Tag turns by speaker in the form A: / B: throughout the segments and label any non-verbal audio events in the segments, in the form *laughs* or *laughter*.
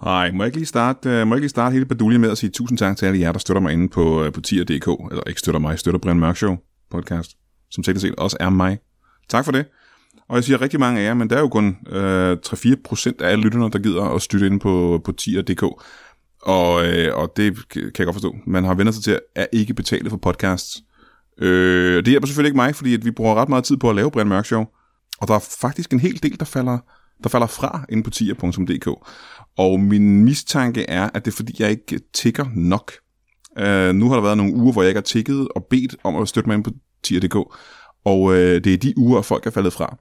A: Hej, må jeg ikke lige starte, øh, må jeg ikke lige starte hele baduljen med at sige tusind tak til alle jer, der støtter mig inde på, øh, på tier.dk, eller ikke støtter mig, støtter Brian Mørk Show podcast, som teknisk set også er mig. Tak for det. Og jeg siger rigtig mange af jer, men der er jo kun øh, 3-4 procent af alle lytterne, der gider at støtte inde på, på tier.dk. Og, øh, og det kan jeg godt forstå. Man har vendt sig til at ikke betale for podcasts. Øh, det hjælper selvfølgelig ikke mig, fordi at vi bruger ret meget tid på at lave Brian Mørk Show. Og der er faktisk en hel del, der falder, der falder fra inde på tier.dk. Og min mistanke er, at det er fordi, jeg ikke tigger nok. Øh, nu har der været nogle uger, hvor jeg ikke har tigget og bedt om at støtte mig ind på tier.dk. Og øh, det er de uger, folk er faldet fra.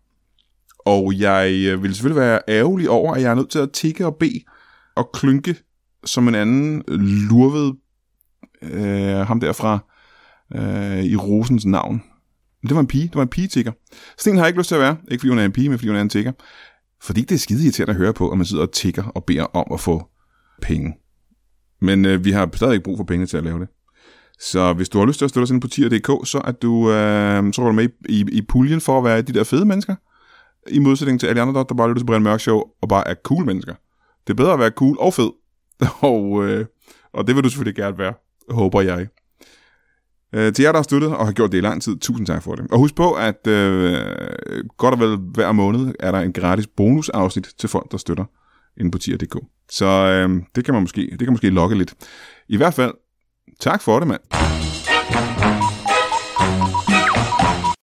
A: Og jeg øh, vil selvfølgelig være ærgerlig over, at jeg er nødt til at tikke og bede og klynke som en anden lurved øh, ham derfra øh, i Rosens navn. Men det var en pige. Det var en pige-tigger. Sten har jeg ikke lyst til at være. Ikke fordi hun er en pige, men fordi hun er en tigger. Fordi det er skide irriterende at høre på, at man sidder og tigger og beder om at få penge. Men øh, vi har stadig ikke brug for penge til at lave det. Så hvis du har lyst til at støtte os ind på tier.dk, så er du, øh, så er du med i, i, i puljen for at være de der fede mennesker. I modsætning til alle andre, der bare lytter til Brian Mørk Show og bare er cool mennesker. Det er bedre at være cool og fed. *laughs* Og, øh, og det vil du selvfølgelig gerne være, håber jeg. Øh, til jer, der har støttet og har gjort det i lang tid, tusind tak for det. Og husk på, at øh, godt og vel hver måned er der en gratis bonusafsnit til folk, der støtter inde på tier.dk. Så øh, det kan man måske, det kan måske lokke lidt. I hvert fald, tak for det, mand.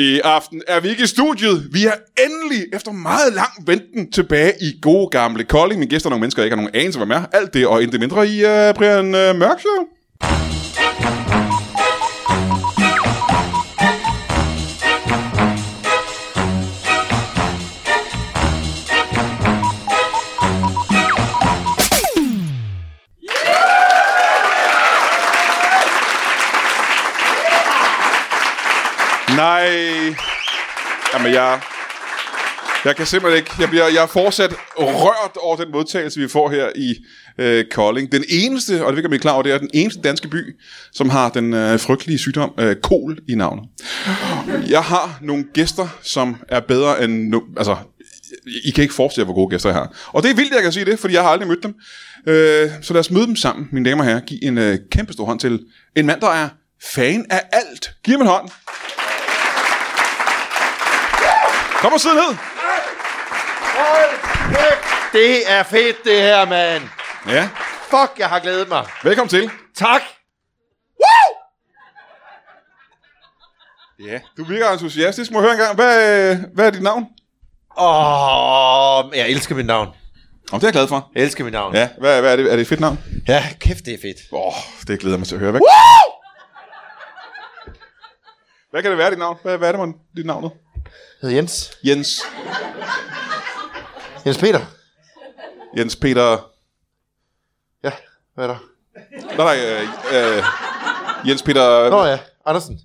A: I aften er vi ikke i studiet. Vi er endelig, efter meget lang venten, tilbage i gode gamle Kolding. Mine gæster er nogle mennesker, jeg ikke har nogen anelse, hvem er. Alt det og intet mindre i uh, Brian uh, Mørk Show. Nej. Jamen, jeg... Jeg kan simpelthen ikke... Jeg, bliver, jeg er fortsat rørt over den modtagelse, vi får her i øh, Kolding. Den eneste, og det kan man klar over, det er den eneste danske by, som har den øh, frygtelige sygdom øh, kol i navnet. Jeg har nogle gæster, som er bedre end... No, altså, I kan ikke forestille jer, hvor gode gæster jeg har. Og det er vildt, jeg kan sige det, fordi jeg har aldrig mødt dem. Øh, så lad os møde dem sammen, mine damer og herrer. Giv en øh, kæmpe stor hånd til en mand, der er fan af alt. Giv ham en hånd. Kom og sid ned.
B: Det er fedt, det her, mand.
A: Ja,
B: Fuck, jeg har glædet mig.
A: velkommen til.
B: Tak.
A: Ja. Du virker entusiastisk. Må jeg høre en gang, hvad, øh, hvad er dit navn?
B: Åh, oh, jeg elsker mit navn.
A: Om det er jeg glad for.
B: Jeg elsker mit navn.
A: Ja, hvad, hvad er det? Er det et fedt navn?
B: ja kæft, det er fedt.
A: Åh, oh, det glæder jeg mig til at høre. Hvad, hvad kan det være, dit navn? Hvad, hvad er det, man, dit navn er?
B: Jeg hedder Jens.
A: Jens.
B: Jens Peter.
A: Jens Peter...
B: Ja, hvad er der?
A: Nej, nej, øh, øh, Jens Peter...
B: Nå ja, Andersen.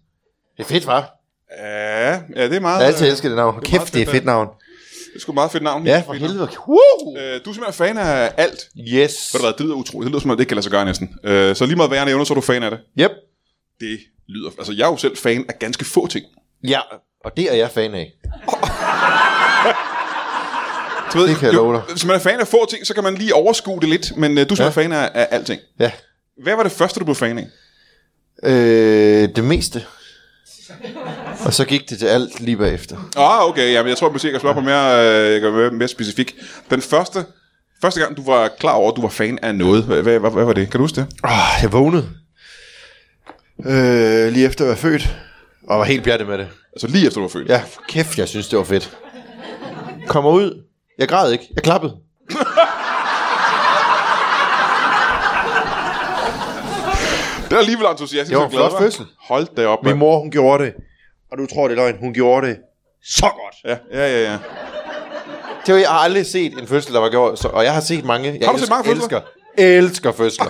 B: Det er fedt, hva'?
A: Ja, ja, det er meget...
B: Jeg har altid elsket det navn. Kæft, det er et fedt navn.
A: Det er sgu et meget fedt navn.
B: Ja, for
A: Fedt navn.
B: helvede. Woo!
A: Øh, du er simpelthen fan af alt.
B: Yes.
A: Ved du hvad, det lyder utroligt. Det lyder som om, det ikke kan lade sig gøre næsten. Øh, så lige meget hvad jeg nævner, så er du fan af det.
B: Yep.
A: Det lyder... Altså, jeg er jo selv fan af ganske få ting.
B: Ja, og det er jeg fan af.
A: Du ved,
B: Det kan jeg
A: jo,
B: love dig.
A: Hvis man er fan af få ting, så kan man lige overskue det lidt, men øh, du er ja.
B: Ja.
A: fan af, af alting.
B: Ja.
A: Hvad var det første, du blev fan af?
B: Øh, det meste. Og så gik det til alt lige bagefter.
A: Ah, okay, jamen, jeg tror, måske jeg kan svare på mere, øh, jeg kan være mere specifik. Den første, første gang, du var klar over, at du var fan af noget, hvad, hvad, hvad, hvad var det? Kan du huske det?
B: Oh, jeg vågnede. Øh, lige efter jeg var født. Og var helt bjertet med det.
A: Altså lige efter, du var født.
B: Ja, for kæft, jeg synes, det var fedt. Kommer ud. Jeg græd ikke. Jeg klappede.
A: Det er alligevel entusiastisk.
B: Det var
A: og
B: en
A: glad,
B: flot
A: hva'?
B: fødsel.
A: Hold da op.
B: Min
A: mand.
B: mor, hun gjorde det. Og du tror, det er løgn. Hun gjorde det så godt.
A: Ja, ja, ja, ja.
B: Det var, jeg har aldrig set en fødsel, der var gjort, så, og jeg har set mange. Jeg
A: Har du set mange fødsler?
B: elsker, elsker fødsler.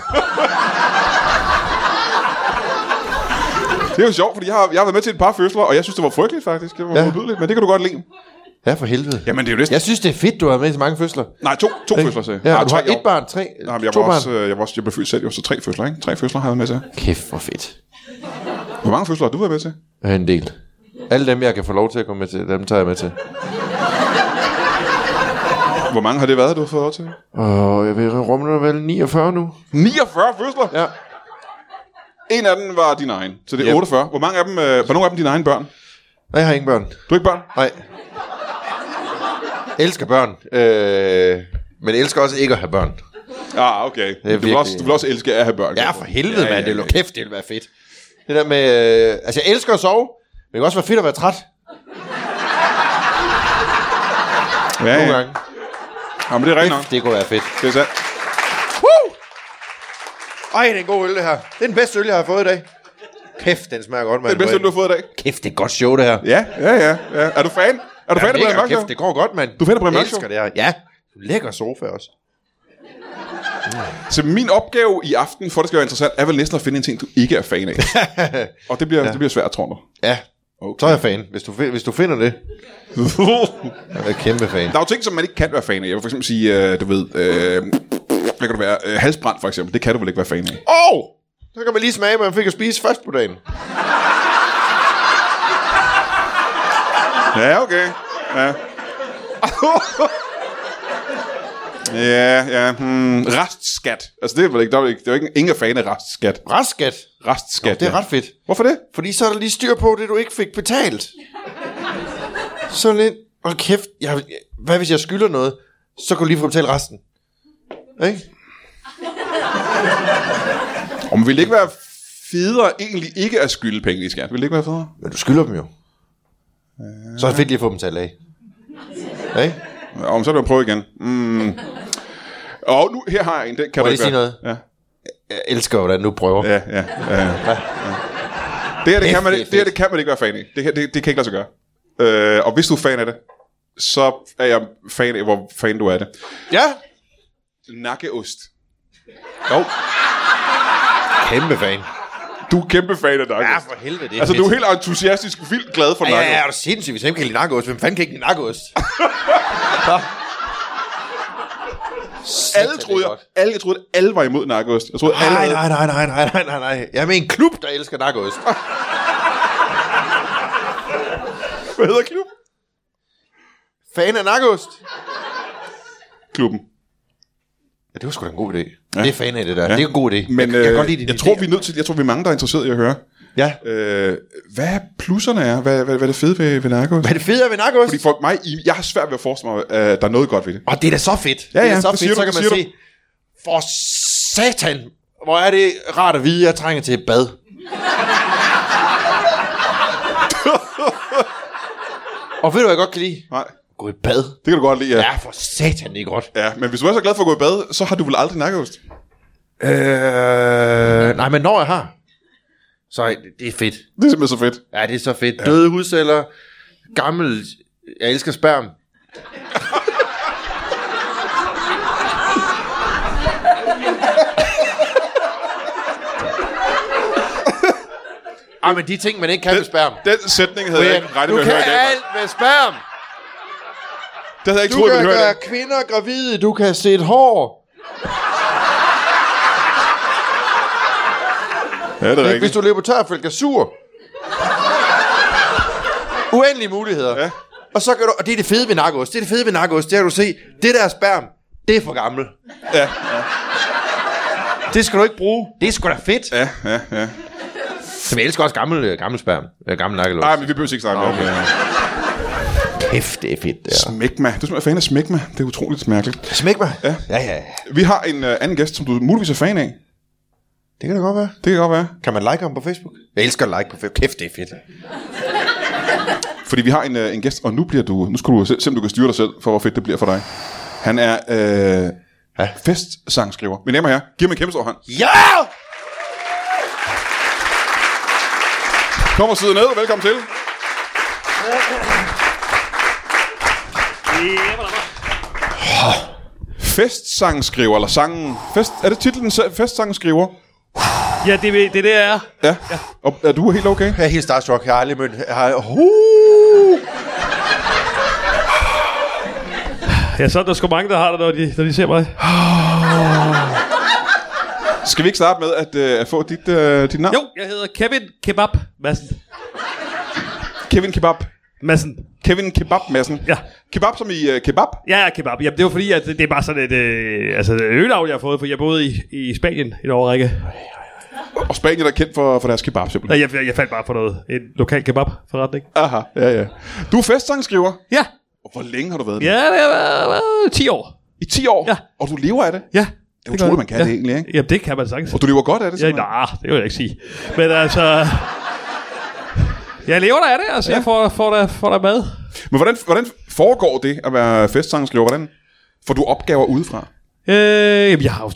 A: Det er jo sjovt, fordi jeg har, jeg har været med til et par fødsler, og jeg synes, det var frygteligt faktisk. Det var ja.
B: Ja.
A: modbydeligt, men det kan du godt lide.
B: ja, for helvede.
A: Jamen, det er jo næsten...
B: Jeg synes, det er fedt, du har med til mange fødsler.
A: Nej, to, to fødsler, sagde jeg.
B: Ja,
A: Nej,
B: og du har
A: tre i
B: et
A: år.
B: barn, tre,
A: Nej, men jeg
B: to
A: var,
B: barn.
A: også, øh, jeg var også, jeg blev født selv, jo, så tre fødsler, ikke? Tre fødsler har jeg været med til.
B: Kæft, hvor fedt.
A: Hvor mange fødsler har du været med til?
B: Jeg har en del. Alle dem, jeg kan få lov til at komme med til, dem tager jeg med til.
A: Hvor mange har det været, du har fået lov til?
B: Og jeg vil rumme vel 49 nu.
A: 49 fødsler?
B: Ja.
A: En af dem var din egen, så det er
B: Yep.
A: 48. Hvor mange af dem, øh, var nogle af dem dine egne børn?
B: Nej, jeg har ingen børn.
A: Du er ikke børn?
B: Nej. Jeg elsker børn. Øh, men jeg elsker også ikke at have børn.
A: Ah, okay. Du vil,
B: virkelig-
A: også, du vil også elske at have børn.
B: Ja,
A: kan du?
B: for helvede, ja, mand. Det ville kæft, det ville være fedt. Det der med... Øh, altså, jeg elsker at sove, men det kan også være fedt at være træt
A: ja,
B: nogle
A: ja.
B: gange.
A: Ja, men det er rigtigt nok.
B: Kæft, det kunne være fedt.
A: Det er sandt.
B: Woo! Ej, det er en god øl, det her. Det er den bedste øl, jeg har fået i dag. Kæft, den smager godt, mand.
A: Det er det bedste, du har fået i dag.
B: Kæft, det er et godt show, det her.
A: Ja, ja, ja. ja. Er du fan? Er du fan af Brian Mørk?
B: Kæft, det går godt, mand.
A: Du finder Brian Mørk
B: Jeg elsker
A: Show?
B: det her. Ja. Lækker sofa også.
A: Så min opgave i aften, for at det skal være interessant, er vel næsten at finde en ting, du ikke er fan *laughs* af. Og det bliver, ja. det bliver svært, tror jeg.
B: Ja.
A: Okay.
B: Så er jeg fan, hvis du, fi- hvis du finder det. Jeg er kæmpe fan.
A: Der er jo ting, som man ikke kan være fan af. Jeg vil for eksempel sige, øh, du ved, øh, hvad kan du være? Øh, halsbrand for eksempel. Det kan du vel ikke være fan af.
B: Åh! Oh! Så kan man lige smage, hvad man fik at spise først på dagen.
A: Ja, okay. Ja. ja, ja. Hmm. Restskat. Altså, det er vel ikke, der er vel ikke, det er jo ikke, ingen er fan af restskat.
B: Raskat.
A: Restskat,
B: Det er
A: ja.
B: ret fedt.
A: Hvorfor det?
B: Fordi så er der lige styr på det, du ikke fik betalt. Så lidt, hold kæft, jeg, hvad hvis jeg skylder noget, så kan du lige få betalt resten. Ikke?
A: Om ville det ikke være federe egentlig ikke at skylde penge i skat? Ville det ikke være federe?
B: Men du skylder dem jo. Så er det fedt lige at få dem betalt af. Ikke?
A: Om så vil jeg prøve igen. Mm. Og nu, her har jeg en. Den kan
B: Må
A: du
B: jeg
A: ikke
B: lige sige
A: være- Ja,
B: Jeg elsker, hvordan du prøver.
A: ja, ja. ja, ja. Det her, det kan, man, det,
B: Fedt, fedt,
A: det her, det
B: fedt.
A: kan man ikke være fan af. Det, her, det, det kan ikke lade sig gøre. Øh, og hvis du er fan af det, så er jeg fan af, hvor fan du er af det.
B: ja.
A: Nakkeost.
B: Jo. Kæmpe fan.
A: Du er kæmpe fan af nakkeost.
B: Ja, for helvede, det er
A: Altså,
B: fedt.
A: du er helt entusiastisk, vildt glad for
B: Ja,
A: nakkeost.
B: ja, ja, er du sindssyg, hvis jeg ikke kan lide nakkeost? Hvem fanden kan ikke lide nakkeost?
A: *laughs*
B: Nå.
A: alle, troede,
B: det
A: jeg,
B: er godt.
A: alle, jeg troede, at alle var imod nakkeost. Jeg troede, alle...
B: Nej, nej, nej, nej, nej, nej, nej, nej. Jeg er med i en klub, der elsker nakkeost.
A: Hvad hedder klub?
B: Fan af nakkeost.
A: klubben?
B: Ja, det var sgu da en god idé. Ja. Det er fan af det der. Ja. Det er en god idé.
A: Men
B: jeg, jeg, kan godt lide
A: øh,
B: din
A: jeg tror,
B: idé.
A: vi er nødt til, jeg tror, vi er mange, der er interesseret i at høre.
B: Ja.
A: Øh, hvad plusserne er? Hvad, hvad, hvad er det fede ved, ved narkos?
B: Hvad er det fede ved nakkeost?
A: Fordi for mig, I- jeg har svært ved at forestille mig, at der er noget godt ved det.
B: Og det er da så fedt.
A: Ja,
B: det er
A: ja,
B: da så
A: det
B: fedt,
A: siger
B: så
A: du,
B: kan
A: det
B: man
A: siger
B: se. For satan, hvor er det rart at vide, at jeg trænger til et bad. og ved du, hvad jeg godt kan lide?
A: Nej,
B: Gå i bad.
A: det kan du godt lide. Ja.
B: Ja, for satan, det er godt.
A: ja. men hvis du er så glad for at gå i bad, så har du vel aldrig narkost?
B: Øh, nej, men når jeg har, så er det- det er fedt.
A: Det er simpelthen så fedt.
B: Ja, det er så fedt. Døde hudceller, gammel, jeg elsker sperm. Ej, Ah, men de ting, man ikke kan med sperm.
A: Den sætning havde jeg ikke regnet
B: du
A: med at
B: kan
A: høre i dag.
B: alt med sperm.
A: Det havde jeg ikke
B: Du
A: troet, jeg
B: kan
A: ville høre i
B: gøre
A: dag.
B: kvinder gravide, du kan se et hår.
A: Ja, det er
B: Hvis
A: rigtigt.
B: du løber tør for gasur. Uendelige muligheder.
A: Ja.
B: Ja. Og så kan du, og det er det fede ved narkos. Det er det fede ved narkos. Det har du se. Det der sperm, det er for gammel.
A: Ja,
B: Det skal du ikke bruge. Det er sgu da fedt. Ja.
A: ja, ja, ja.
B: Så jeg elsker også gammel, øh, gammel sperm. Øh, Gammel nakkelås.
A: Nej, men vi behøver ikke snakke om det.
B: Kæft, det er fedt. Det er.
A: Smæk mig. Du er simpelthen fan af smæk mig. Det er utroligt mærkeligt.
B: Smæk mig. Ja. ja, ja.
A: Vi har en øh, anden gæst, som du muligvis er fan af.
B: Det kan da godt være.
A: Det kan godt være.
B: Kan man like ham på Facebook? Jeg elsker at like på Facebook. Kæft, det er fedt.
A: Fordi vi har en, øh, en gæst, og nu bliver du, nu skal du se, se, om du kan styre dig selv, for hvor fedt det bliver for dig. Han er øh,
B: Ja.
A: festsangskriver. Mine damer og herrer, giv mig en kæmpe stor hånd.
B: Ja!
A: Kom og sidde ned, velkommen til. Festsangskriver, eller sangen... Fest, er det titlen? så- Festsangskriver?
C: Ja, det, ved- det er det jeg er.
A: Ja. ja. Og er du helt okay?
B: Jeg er helt starstruck. Jeg har aldrig mødt... Jeg har, uh,
C: Ja, så er der sgu mange, der har det, når de, når de ser mig.
A: Skal vi ikke starte med at, øh, at få dit, øh, dit navn?
C: Jo, jeg hedder Kevin Kebab Madsen.
A: Kevin Kebab.
C: Madsen.
A: Kevin Kebab Madsen.
C: Ja.
A: Kebab som i øh, kebab?
C: Ja, ja, kebab. Jamen, det var fordi, at det det er bare sådan et øh, altså, øgenavn, jeg har fået, for jeg boede i, i Spanien en årrække.
A: Og Spanien er kendt for, for deres kebab, simpelthen.
C: Og jeg, jeg faldt bare på noget. En lokal kebab forretning.
A: Aha, ja, ja. Du er festsangskriver.
C: Ja,
A: Hvor længe har du været det?
C: ja det var, var 10 år.
A: I 10 år?
C: Ja.
A: Og du lever af det?
C: Ja.
A: Det er utroligt, man kan
C: ja.
A: det egentlig, ikke?
C: Jamen, det kan man sagtens.
A: Og du lever godt af det,
C: Ja,
A: simpelthen?
C: nej, det vil jeg ikke sige. Men altså... Jeg lever der af det, altså. Ja. Jeg får, får, der, får der mad.
A: Men hvordan, hvordan foregår det at være festsangskriver? Hvordan får du opgaver udefra?
C: Øh, jamen, jeg har jo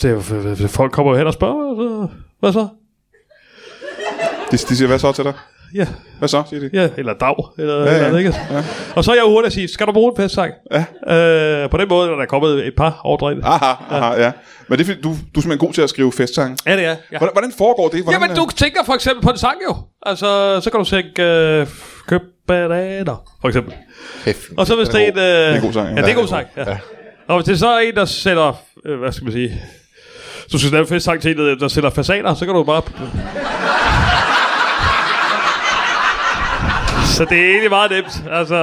C: det, det- folk kommer jo hen og spørger, så- hvad så?
A: De, de siger, hvad så til dig?
C: Ja,
A: Hvad så, siger de?
C: ja, eller dag, eller,
A: ja,
C: ja, ja. eller ikke? Ja. Og så er jeg jo hurtig at sige, skal du bruge en festsang? Ja. Ah. Øh, på den måde er der kommet et par overdrevet. Ja.
A: Aha, aha, ja. Men det er, fordi, du, du er simpelthen god til at skrive festsange.
C: ja, det er. Ja.
A: Hvordan, hvordan foregår det? Hvordan,
C: Jamen, du tænker for eksempel på en sang jo. Altså, så kan du tænke, øh, køb bananer, for eksempel.
B: kæft.
C: Og så hvis det er en... Øh, det er
A: en god sang, ja.
C: Ja, det er en god sang. Ja. Ja. Og hvis det så er en, der sætter... Øh, hvad skal man sige? Du skal lave en festsang til en, der der sætter fasaner, så kan du bare... så det er egentlig meget nemt. Altså...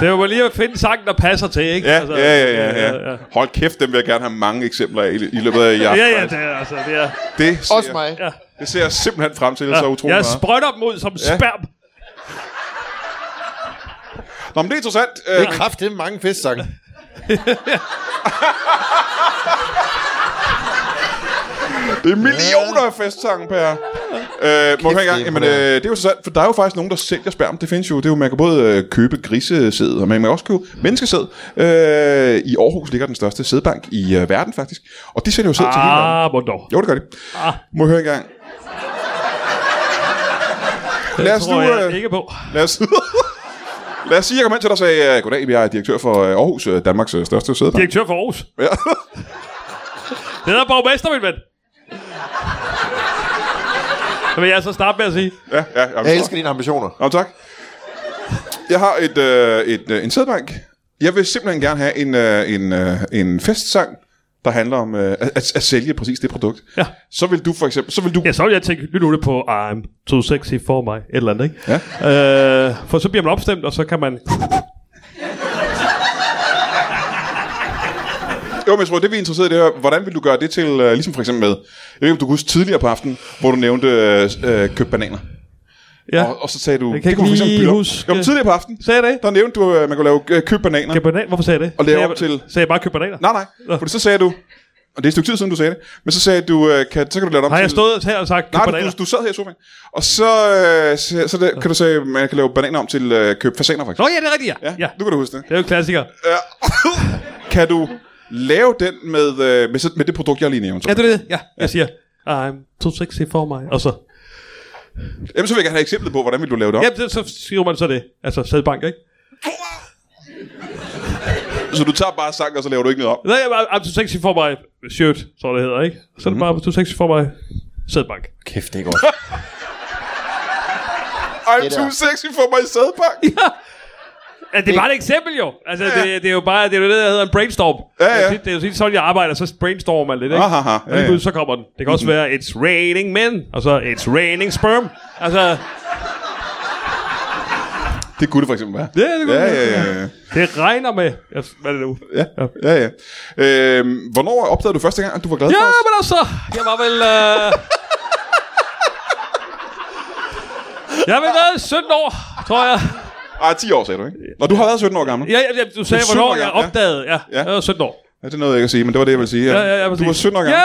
C: Det er jo bare lige at finde en sang, der passer til, ikke?
A: Ja,
C: altså,
A: ja, ja, ja, ja,
C: ja.
A: Hold kæft, dem vil jeg gerne have mange eksempler af i, i løbet af i aften.
C: Ja, ja, det er, altså, det er...
A: det, ser,
B: Også mig.
C: Ja.
A: det ser jeg simpelthen frem til, ja. så utroligt
C: jeg
A: meget.
C: sprøjter dem ud som sperm.
A: Nå, men det er interessant. Øh,
B: Det er kraftigt mange festsange.
A: Det er millioner af festsange, Per. Øh, må jeg høre en gang,
B: det er
A: jamen, øh, det er jo interessant, for der er jo faktisk nogen, der sælger sperm. Det findes jo, det er jo, man kan både øh, købe grisesæd, og man kan også købe menneskesæd. Øh, I Aarhus ligger den største sædbank i øh, verden, faktisk. Og de sælger jo sæd ah. til hele verden.
C: Ah, må dog.
A: Jo, det gør de.
C: Ah.
A: Må jeg høre en gang. Lad
C: Det
A: os nu...
C: tror jeg
A: Øh,
C: ikke på.
A: lad os... *laughs* Lad os sige, jeg kom hen til dig og sagde, øh, goddag, jeg er direktør for øh, Aarhus, øh, Danmarks øh, største sædbank.
C: Direktør for Aarhus.
A: Ja. *laughs*
C: Det hedder borgmester, min ven. Det vil jeg så starte med at sige.
A: ja, ja, jamen,
B: Jeg
A: så-
B: elsker dine ambitioner.
A: Nå, tak. Jeg har et, øh, et, øh, en sædbank. Jeg vil simpelthen gerne have en, øh, en, øh, en festsang, der handler om øh, at, at, at sælge præcis det produkt.
C: Ja.
A: Så vil du for eksempel... Så vil du,
C: Ja, så vil jeg tænke, lyt nu det på I'm too sexy for mig. Et eller andet, ikke?
A: Ja.
C: Øh, for så bliver man opstemt, og så kan man...
A: Jo, men jeg tror, det vi er interesseret i, det er, hvordan vil du gøre det til, øh, ligesom for eksempel med... Jeg ved ikke, om du kunne huske tidligere på aftenen, hvor du nævnte øh, øh, køb bananer.
C: Ja.
A: Og, og, så sagde du...
C: Jeg kan ikke
A: kunne for eksempel
C: lige
A: Bylov.
C: huske-
A: Jo, men tidligere på aftenen,
C: Sagde jeg det?
A: der nævnte du, øh, man kunne lave øh, køb bananer.
C: Køb banan. Hvorfor sagde jeg det?
A: Og lave
C: Sagde
A: op
C: jeg,
A: til-
C: Sagde jeg bare køb bananer?
A: Nej, nej. For så sagde du... Og det er et stykke tid siden, du sagde det. Men så sagde du, øh, kan, så kan du lave det om
C: Har
A: til...
C: jeg stået her og sagt køb
A: Nej, du,
C: bananer?
A: du, du sad her i sofaen. Og så, øh, så, så det, kan du sige, at man kan lave bananer om til øh, køb fasaner, faktisk.
C: Nå ja, det er rigtigt, ja. ja. ja.
A: Nu kan du huske det.
C: Det er jo en klassiker.
A: Ja. kan du lave den med, øh, med, så- med det produkt, jeg lige nævnte?
C: Ja, det er det. Ja, jeg siger I'm too sexy for mig. Og så...
A: Jamen, så vil jeg gerne have eksemplet på, hvordan vil du lave det op.
C: Ja, det, så skriver man så det. Altså sædbank, ikke?
A: Så du tager bare sang, og så laver du ikke noget om.
C: Nej, jeg er I'm too sexy for mig. Shirt, så det hedder, ikke? Så er
A: Mhm.
C: det bare I'm too sexy for mig. Sædbank.
B: Kæft, det er godt.
A: I'm
B: Det der.
A: too sexy for my sædbank.
C: Ja, det er bare et eksempel jo. Altså, ja, ja. Det, det, er jo bare det, er jo det, der hedder en brainstorm.
A: Ja, ja.
C: Det, er jo tit- det er jo tit sådan, jeg arbejder, så brainstormer man lidt, ikke?
A: Ah, ah, ah.
C: Og lige
A: Ja, Mhm. ja.
C: pludselig så kommer den. Det kan også være, it's raining men, og så it's raining sperm. Altså,
A: Det kunne det for eksempel være.
C: Ja, det kunne
A: ja,
C: det
A: ja,
C: være.
A: ja, ja.
C: det regner med. Ja, hvad er det nu?
A: ja. ja, ja. Øhm, hvornår opdagede du første gang, at du var glad
C: Ja,
A: for os?
C: men altså, jeg var vel... Øh... jeg har vel været 17 år, tror jeg.
A: Ej, 10 år sagde du, ikke? Nå, du har været 17 år gammel.
C: Ja, ja, ja du sagde,
A: syv år
C: hvornår jeg
A: gammel, ja.
C: opdagede. Ja,
A: Ja.
C: jeg var 17 år.
A: Ja, det nåede jeg ikke at sige, men det var det, jeg ville sige.
C: Ja, ja, ja,
A: du var
C: præcis.
A: 17 år gammel.
C: Ja,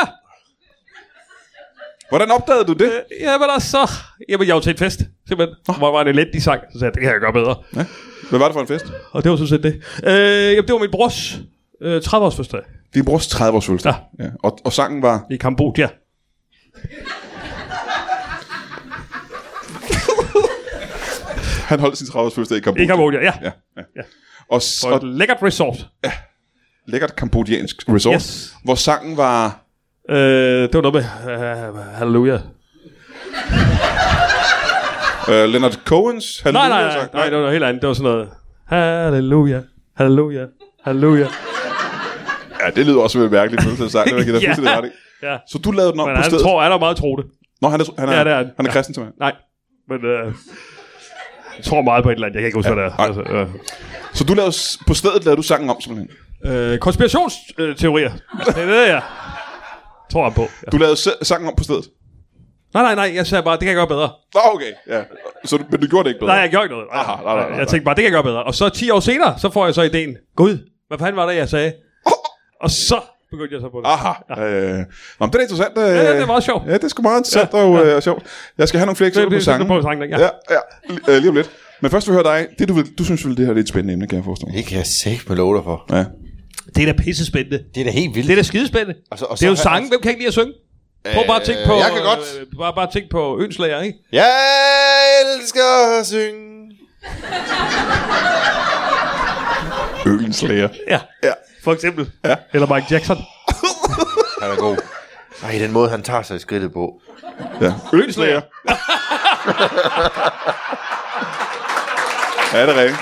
A: Hvordan opdagede du det?
C: ja, men altså... Jamen, jeg var til en fest, simpelthen. Hvor der var en elendig sang, så sagde jeg, det kan jeg gøre bedre.
A: Ja. Hvad var det for en fest?
C: Og det var sådan set det. Øh, jamen, det var min brors øh, 30-års fødselsdag
A: Din brors 30 års fødselsdag. Ja. Og, og sangen var... *laughs*
C: i Kambodja.
A: Han holdt sin 30 års fødselsdag i Kambodja.
C: I Kambodja, ja.
A: Ja, ja. Og, s-
C: på
A: og
C: et lækkert resort.
A: lækkert kambodjansk resort,
C: Yes.
A: hvor sangen var...
C: Øh, det var noget med uh, Halleluja.
A: Uh, Leonard Cohen's
C: Nej, nej,
A: Halleluja-sang.
C: nej, nej, det var noget helt andet. Det var sådan noget. Halleluja, halleluja, halleluja.
A: Ja, det lyder også lidt mærkeligt, men det er sagt, det vil jeg give dig
C: *laughs* Ja.
A: fuldstændig ret i.
C: Ja.
A: Så du lavede den om
C: Men
A: på
C: han
A: stedet?
C: tror, han er meget troende.
A: Nå, han er, han er,
C: Ja,
A: ja,
C: det er
A: er
C: han.
A: han er
C: Ja.
A: kristen til mig.
C: Nej, men øh, jeg tror meget på et eller andet. Jeg kan ikke huske, hvad det er.
A: nej.
C: Altså, øh.
A: Så du lavede, s- på stedet lavede du sangen om, simpelthen.
C: Øh, konspirationsteorier. *laughs* det er det, jeg tror han på. Ja.
A: Du lavede se- sangen om på stedet?
C: Nej, nej, nej, jeg sagde bare, det kan jeg gøre bedre.
A: Nå, okay, ja. Så, du- men du gjorde det ikke bedre?
C: Nej, jeg gjorde ikke noget.
A: Aha, nej, nej, nej,
C: Jeg
A: nej.
C: tænkte bare, det kan jeg gøre bedre. Og så 10 år senere, så får jeg så ideen. Gud, hvad fanden var det, jeg sagde? Og så begyndte jeg så på det.
A: Aha. Øh, nå, men det er interessant. Øh,
C: ja, det er meget sjovt.
A: Ja, det er sgu meget interessant og, øh, og sjovt. Jeg skal have nogle flere
C: det,
A: eksempler på sangen.
C: på sangen, ikke?
A: Ja, ja li- øh, lige om lidt. Men først vil jeg høre dig. Det, du, vil, du synes vel, det her det er et spændende emne, kan jeg forestille mig.
B: Det kan jeg sæt med love dig for.
A: Ja.
C: Det er da pissespændende.
B: Det er da helt vildt.
C: Det er da skidespændende.
B: Og så- og
C: det er jo
B: så-
C: sange. Hvem kan ikke lide at synge? Prøv bare at tænke på...
B: Øh, jeg kan godt.
C: Øh, bare, bare tænk på Ønslager, ikke?
B: Jeg elsker at synge.
A: Øens læger.
C: Ja.
A: Ja.
C: For eksempel. Ja. Eller Mike Jackson.
B: Han er god. Ej, den måde, han tager sig i skridtet på.
A: Ja.
C: Ønslager.
A: ja, det er rigtigt.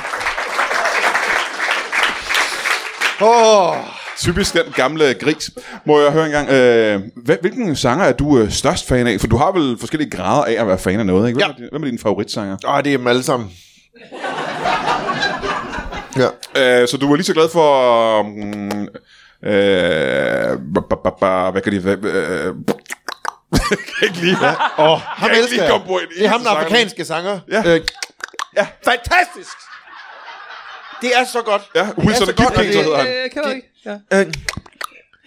B: Åh, oh,
A: Typisk den gamle gris. Må jeg høre engang, øh, hvad, hvilken sanger er du øh, størst fan af? For du har vel forskellige grader af at være fan af noget, ikke? Hvem,
B: Ja.
A: er, din, hvem er dine favoritsanger?
B: oh, det er dem alle sammen. Ja.
A: Øh, så du var lige så glad for... Mm, øh, ba, ba, ba, ba, hvad kan det være? Øh, *laughs* jeg kan ikke lige... Ja.
B: Åh, oh, ham
A: kan ikke
B: elsker
A: lige
B: jeg.
A: komme på en
B: Det er ham, den
A: eneste sang.
B: afrikanske sanger.
A: Ja.
B: Øh, ja. Fantastisk! Det er så godt.
A: Ja, Wilson
B: så
A: og Kipling,
B: godt, og
A: så
B: det-
A: hedder han.
C: jeg kender ikke. Ja.
B: Øh,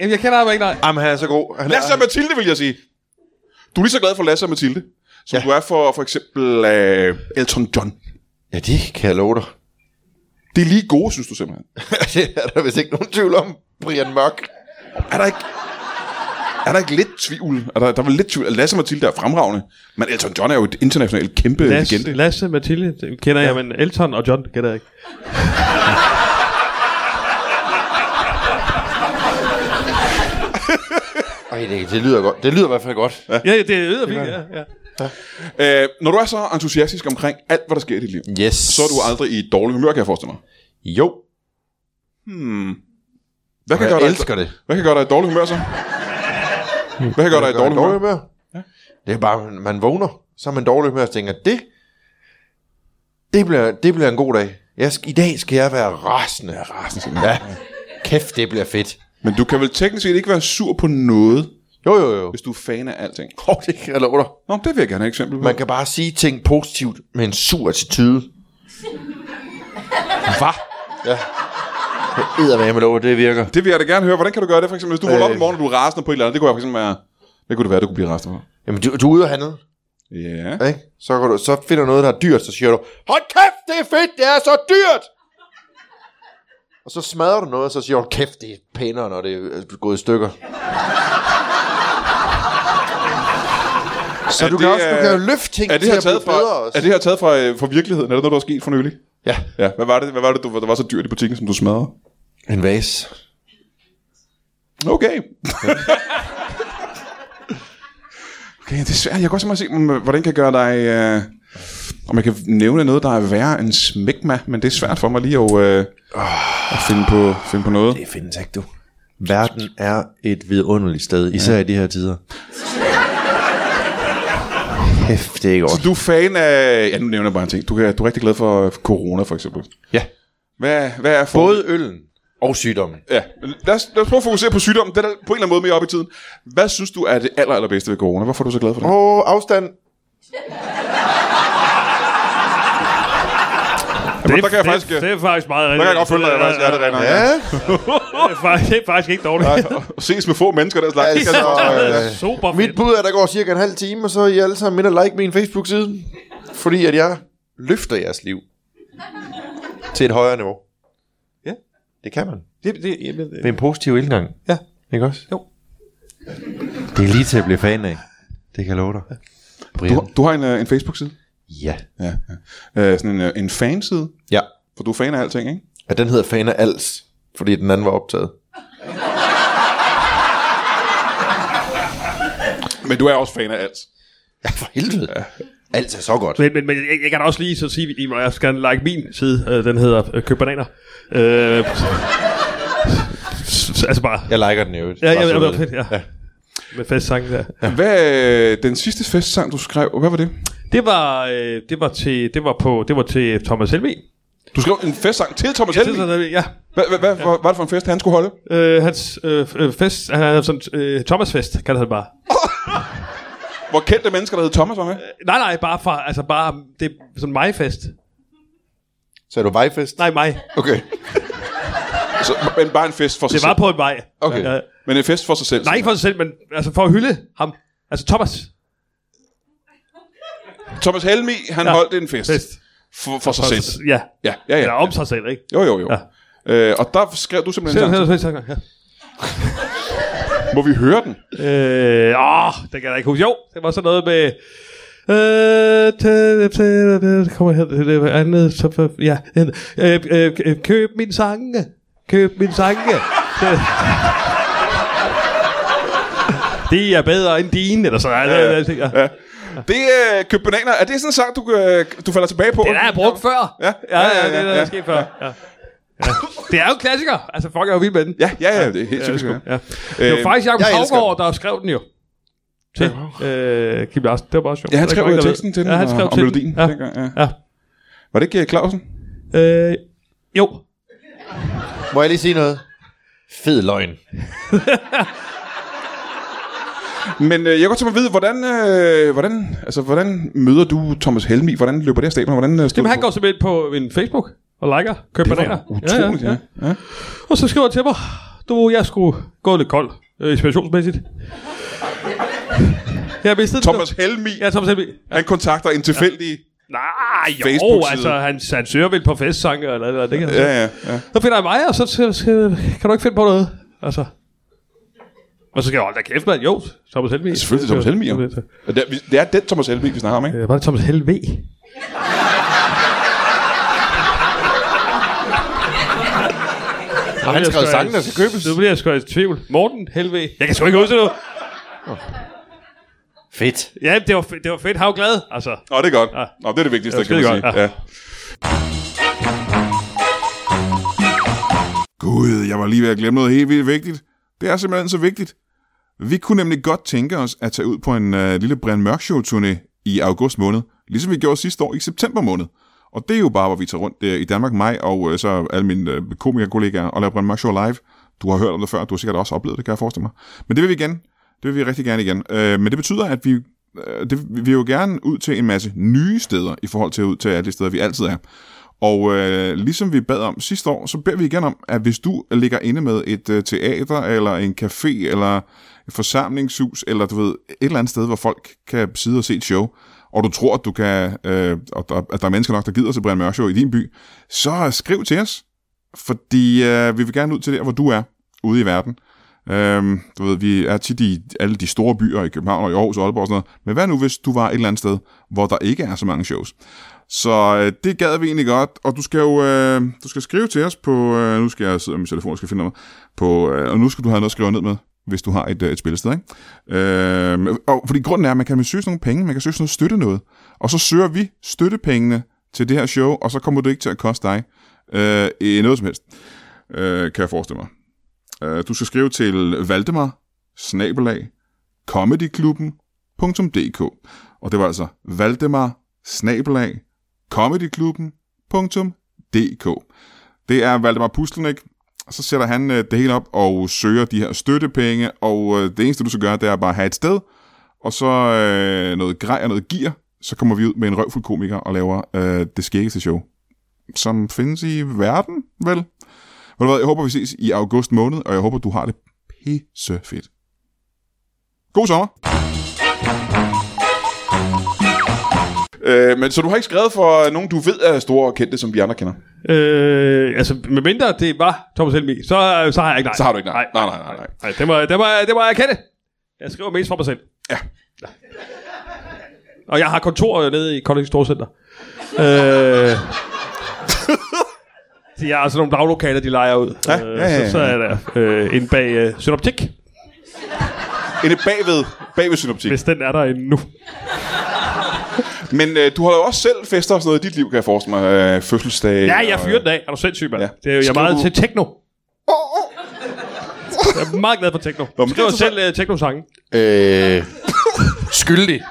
C: Jamen, jeg kender ham ikke, nej.
B: jamen, han er så god. Han
A: Lasse og Mathilde, vil jeg sige. Du er lige så glad for Lasse og Mathilde, som ja.
B: Ja.
A: du er for for eksempel øh, Elton John.
B: Ja, det kan jeg love dig. *laughs*
A: Det er lige gode, synes du simpelthen.
B: det er der vist ikke nogen tvivl om, Brian Mørk.
A: Er der ikke... Er der ikke lidt tvivl? Er der, der er vel lidt tvivl? Lasse og Mathilde er fremragende, men Elton John er jo et internationalt kæmpe Lasse.
C: Lasse,
A: legende.
C: Lasse Mathilde det kender ja. jeg, men Elton og John kender jeg ikke.
B: Ej, det, det lyder godt. Det lyder i hvert fald godt. Ja.
C: Ja, det lyder fint, ja. ja.
A: Øh, når du er så entusiastisk omkring alt, hvad der sker i dit liv,
B: Yes.
A: så er du aldrig i et dårligt humør, kan jeg forestille mig.
B: Jo,
A: Hvad kan,
B: jeg
A: gøre dig,
B: elsker det.
A: hvad kan gøre dig i dårligt humør så? Hvad kan gøre dig i dårligt
B: gør dårlig
A: humør?
B: humør. Det er bare, man, man vågner, så er man dårlig humør og tænker, det, det, bliver, det bliver en god dag. Jeg skal, I dag skal jeg være rasende. Ja, rasende. Ja. Kæft, det bliver fedt.
A: Men du kan vel teknisk set ikke være sur på noget,
B: Jo, jo, jo.
A: hvis du er fan af alting.
B: Oh, det kan jeg love dig.
A: Nå, det vil jeg gerne have et eksempel på.
B: Man kan bare sige ting positivt med en sur attitude. Hvad? Ja. Jeg æder med, love, det virker.
A: Det vil jeg da gerne høre. Hvordan kan du gøre det, for eksempel, hvis du holder op i
B: Øh.
A: morgen, og du er rasende på et eller andet? Det kunne jeg for eksempel være... Hvad kunne det være, du kunne blive rasende på?
B: Jamen, du, du er ude og handle,
A: Ja.
B: ikke? Så, går du, så finder du noget, der er dyrt, så siger du, hold kæft, det er fedt, det er så dyrt! Og så smadrer du noget, og så siger du, "Hold kæft, det er pænere, når det er gået i stykker. Så
A: Er
B: du, kan
A: det,
B: også, du
A: øh,
B: kan jo løfte ting
A: Er det
B: til
A: her
B: at
A: taget
B: blive
A: fra,
B: bedre også.
A: er det her taget fra, øh, fra virkeligheden? Er det noget, der er sket for nylig?
B: Ja,
A: Ja, hvad var det, hvad var det du, der var så dyrt i butikken, som du smadrede?
B: en vase.
A: Okay. okay, det er svært. Jeg kan også se, mm, hvordan kan jeg gøre dig... Øh, om jeg kan nævne noget, der er værre end smækma, men det er svært for mig lige at, øh, at finde, på, finde på noget.
B: Det findes ikke, du. Verden er et vidunderligt sted, især ja. i de her tider. Hæft, det er ikke
A: Så
B: godt.
A: du er fan af... Ja, nu nævner jeg bare en ting. Du, kan, du er rigtig glad for øh, corona, for eksempel.
B: Ja.
A: Hvad, hvad er for...
B: Både øllen og sygdommen.
A: Ja, lad os, lad os prøve at fokusere på sygdommen. Den er på en eller anden måde mere op i tiden. Hvad synes du er det aller, allerbedste ved corona? Hvorfor er du så glad for det?
B: Og afstand.
A: Jamen, der kan jeg faktisk...
C: Det, det er faktisk meget rigtigt.
A: der kan jeg godt følge dig, faktisk. Ja, det regner. Ja.
B: Ja.
C: *laughs* det, er faktisk, det er faktisk ikke dårligt.
A: Og ses med få mennesker, der slags.
B: *laughs*
A: Det kan jeg
B: Altså,
A: godt-
B: øh,
C: Super fedt.
B: mit bud er, at der går cirka en halv time, og så er I alle sammen ind og like min Facebook-side. Fordi at jeg løfter jeres liv til et højere niveau.
C: Ja.
B: Det kan man.
C: Det, det, jamen,
B: Med
A: øh.
B: en positiv indgang.
C: Ja.
B: Ikke også?
C: Jo.
B: Det er lige til at blive fan af. Det kan jeg love dig.
A: Du,
B: Brian.
A: har- du har en, øh, en Facebook-side?
B: Ja.
A: Ja. ja. Øh, sådan en, øh, en fanside?
B: Ja.
A: For du er fan af alting, ikke?
B: at den hedder Fana Als, fordi den anden var optaget.
A: Men du er også fan af alt.
B: Ja, for helvede. Ja. Alt er så godt.
C: Men, men, men jeg, jeg kan da også lige så sige, at jeg skal like min side. Øh, den hedder øh, Køb Bananer. Øh, s- s- altså bare...
B: Jeg liker den jo.
C: Ja, ja, ja, ja, fedt, ja. ja. Med festsangen der.
A: Hvad, øh, den sidste festsang, du skrev, hvad var det?
C: Det var, øh, det var, til, det var, på, det var til Thomas Helmi.
A: Du skrev en festsang til Thomas Helmi.
C: Ja.
A: Hvad, hvad, hvad, hvad var det for en fest, han skulle holde?
C: Øh, hans øh, øh, fest, han havde sådan, øh, Thomas fest, kalder han bare.
A: Hvor kendte mennesker, der hed Thomas, var med?
C: Nej, nej, bare fra, altså bare, det er sådan mig fest.
B: Så er du vejfest?
C: Nej, mig.
B: Okay.
A: Så, men bare en fest for sig
C: Det var
A: selv.
C: på en vej.
B: Okay.
C: Ja.
A: Men en fest for sig selv.
C: Nej, ikke for sig selv, men altså for at hylde ham. Altså Thomas
A: Thomas Helmi, han ja.
C: Ja.
A: holdt en fest.
C: fest.
A: For, for sig selv.
C: Ja.
A: Ja, ja,
C: Eller
A: ja.
C: om sig selv, ikke?
A: Jo, jo, jo. Ja.
C: Ja.
A: Øh, og der skrev du simpelthen
C: Selv,
A: en sang.
C: selv, selv, selv, ja.
A: Må vi høre den?
C: Øh, åh, det kan jeg da ikke huske. Jo, det var sådan noget med... Øh, tæ- tæ- tæ- det kommer her, det er andet, så for, ja, øh, øh, øh, køb min sange, køb min sange. *laughs* Det- De er bedre end dine, eller sådan noget. Ja, ja, ja.
A: Det er øh, køb bananer. Er det sådan en sang, du, øh, du falder tilbage på?
C: Det har jeg brugt før.
A: Ja,
C: ja,
A: ja,
C: ja,
A: ja,
C: ja, det er
A: ja,
C: der, der
A: ja.
C: er sket før. Ja. Ja. Det er jo en klassiker. Altså, folk er jo vild med den.
A: Ja, ja, ja, det er helt typisk. Ja,
C: Ja. Det var
A: Øh,
C: faktisk Jacob
B: jeg elsker
C: Havgaard, der skrev den jo. Til øh, Kim Larsen. Det var bare sjovt.
A: ja han
C: Der er
A: skrev
C: ikke
A: jo
C: nogen, der ved.
A: teksten til den,
C: ja, han skrev
A: og, og
C: til
A: melodien.
C: den. Ja.
A: dengang, ja.
C: ja.
A: Var det ikke øh, Clausen?
C: Øh, jo.
B: Må jeg lige sige noget? Fed løgn.
A: Men øh, jeg kunne godt tænke mig at vide, hvordan, øh, hvordan, altså, hvordan møder du Thomas Helmi? Hvordan løber det af staben? Hvordan, øh, stod
C: Jamen, han
A: du på-
C: går simpelthen på min Facebook og liker. Køb
A: Det
C: bananer.
A: var utroligt, ja. ja. ja.
C: Og så skriver han til mig, du, jeg skulle gå lidt kold, øh, inspirationsmæssigt. jeg mistede
A: Thomas Helmi,
C: Ja, Thomas Helmi.
A: han kontakter en tilfældig...
C: Nej, jo,
A: Facebook-side.
C: altså, han, han søger vel på festsange eller eller det kan han
A: Ja,
C: sige.
A: ja, ja.
C: Så finder jeg mig, og så, så, så kan du ikke finde på noget. Altså. Og så skal jeg holde da kæft, mand. Jo, Thomas Helmi.
A: Selvfølgelig Thomas Helmi, jo. Det er, det er den Thomas Helmi, vi snakker om, ikke?
C: Øh, var det Thomas Helve?
B: Og han skrev sangen, der skal købes.
C: Nu bliver jeg sgu i tvivl. Morten Helve. Jeg kan sgu ikke huske det nu.
B: Fedt.
C: Ja, det var, fe- det var fedt. Hav glad. Altså,
A: Nå, det er godt.
C: Ja.
A: Nå, det er det vigtigste,
C: Det
A: kan
C: var
A: man sige.
C: skidegodt,
A: Ja. Gud, jeg var lige ved at glemme noget helt vildt vigtigt. Det er simpelthen så vigtigt. Vi kunne nemlig godt tænke os at tage ud på en øh, lille Brian Mørk Show turné i august måned, ligesom vi gjorde sidste år i september måned. Og det er jo bare, hvor vi tager rundt øh, i Danmark, mig og øh, så alle mine øh, komikerkollegaer, og laver Brian Mørk Show live. Du har hørt om det før, du har sikkert også oplevet det, kan jeg forestille mig. Men det vil vi igen. Det vil vi rigtig gerne igen. Øh, men det betyder, at vi øh, det, vi vil jo gerne ud til en masse nye steder i forhold til ud til alle de steder, vi altid er. Og øh, ligesom vi bad om sidste år, så beder vi igen om, at hvis du ligger inde med et øh, teater, eller en café, eller et forsamlingshus, eller du ved, et eller andet sted, hvor folk kan sidde og se et show, og du tror, at, du kan, øh, og der, at der er mennesker nok, der gider til Brian Mørk Show i din by, så skriv til os, fordi øh, vi vil gerne ud til der, hvor du er ude i verden. Øhm, du ved, vi er tit i alle de store byer i København og i Aarhus og Aalborg og sådan noget. Men hvad nu, hvis du var et eller andet sted, hvor der ikke er så mange shows? Så øh, det gad vi egentlig godt, og du skal jo øh, du skal skrive til os på, øh, nu skal jeg sidde med min telefon, jeg skal finde noget, på, øh, og nu skal du have noget at skrive ned med, hvis du har et, øh, et spillested, ikke? Øh, og fordi grunden er, at man kan søge sådan nogle penge, man kan søge sådan noget støtte noget, og så søger vi støttepengene til det her show, og så kommer det ikke til at koste dig øh, i noget som helst, øh, kan jeg forestille mig. Øh, Du skal skrive til Valdemar, snabelag, comedyklubben.dk. Og det var altså Valdemar, snabelag, comedyklubben.dk. Det er Valdemar Puslenik. Så sætter han øh, det hele op og søger de her støttepenge, og øh, det eneste, du skal gøre, det er bare at have et sted, og så øh, noget grej og noget gear, så kommer vi ud med en røvfuld komiker og laver øh, det skæggeste show, som findes i verden, vel? Ved du hvad, jeg håber, vi ses i august måned, og jeg håber, du har det pisse fedt. God sommer! Øh, men så du har ikke skrevet for nogen, du ved er store og kendte, som vi andre kender?
C: øh, altså, medmindre det var Thomas Helmi, så, så har jeg ikke nej.
A: Så har du ikke nej. Nej, nej, nej, nej.
C: nej. det, må, det, må, det må jeg erkende. Jeg skriver mest for mig selv.
A: Ja.
C: Og jeg har kontor nede i Kolding Storcenter. øh. *laughs* de har sådan nogle daglokaler, de leger ud.
A: Ja, ja, ja, ja.
C: Så, så er der øh, en bag øh, synoptik,
A: Inde bagved, bagved synoptik.
C: hvis den er der endnu.
A: Men øh, du holder jo også selv fester og sådan noget i dit liv, kan jeg forestille mig. Øh, fødselsdag.
C: Ja, jeg
A: og-
C: fyrer den af. Er du sindssyg, mand?
A: Ja.
C: Ja. Det er jo, jeg er
A: Skriver
C: meget
A: du-
C: til techno. Jeg er meget glad for techno.
A: men
C: Jeg
A: det er
C: skriver
A: så-
C: selv uh, techno-sange.
B: Øh, skyldig.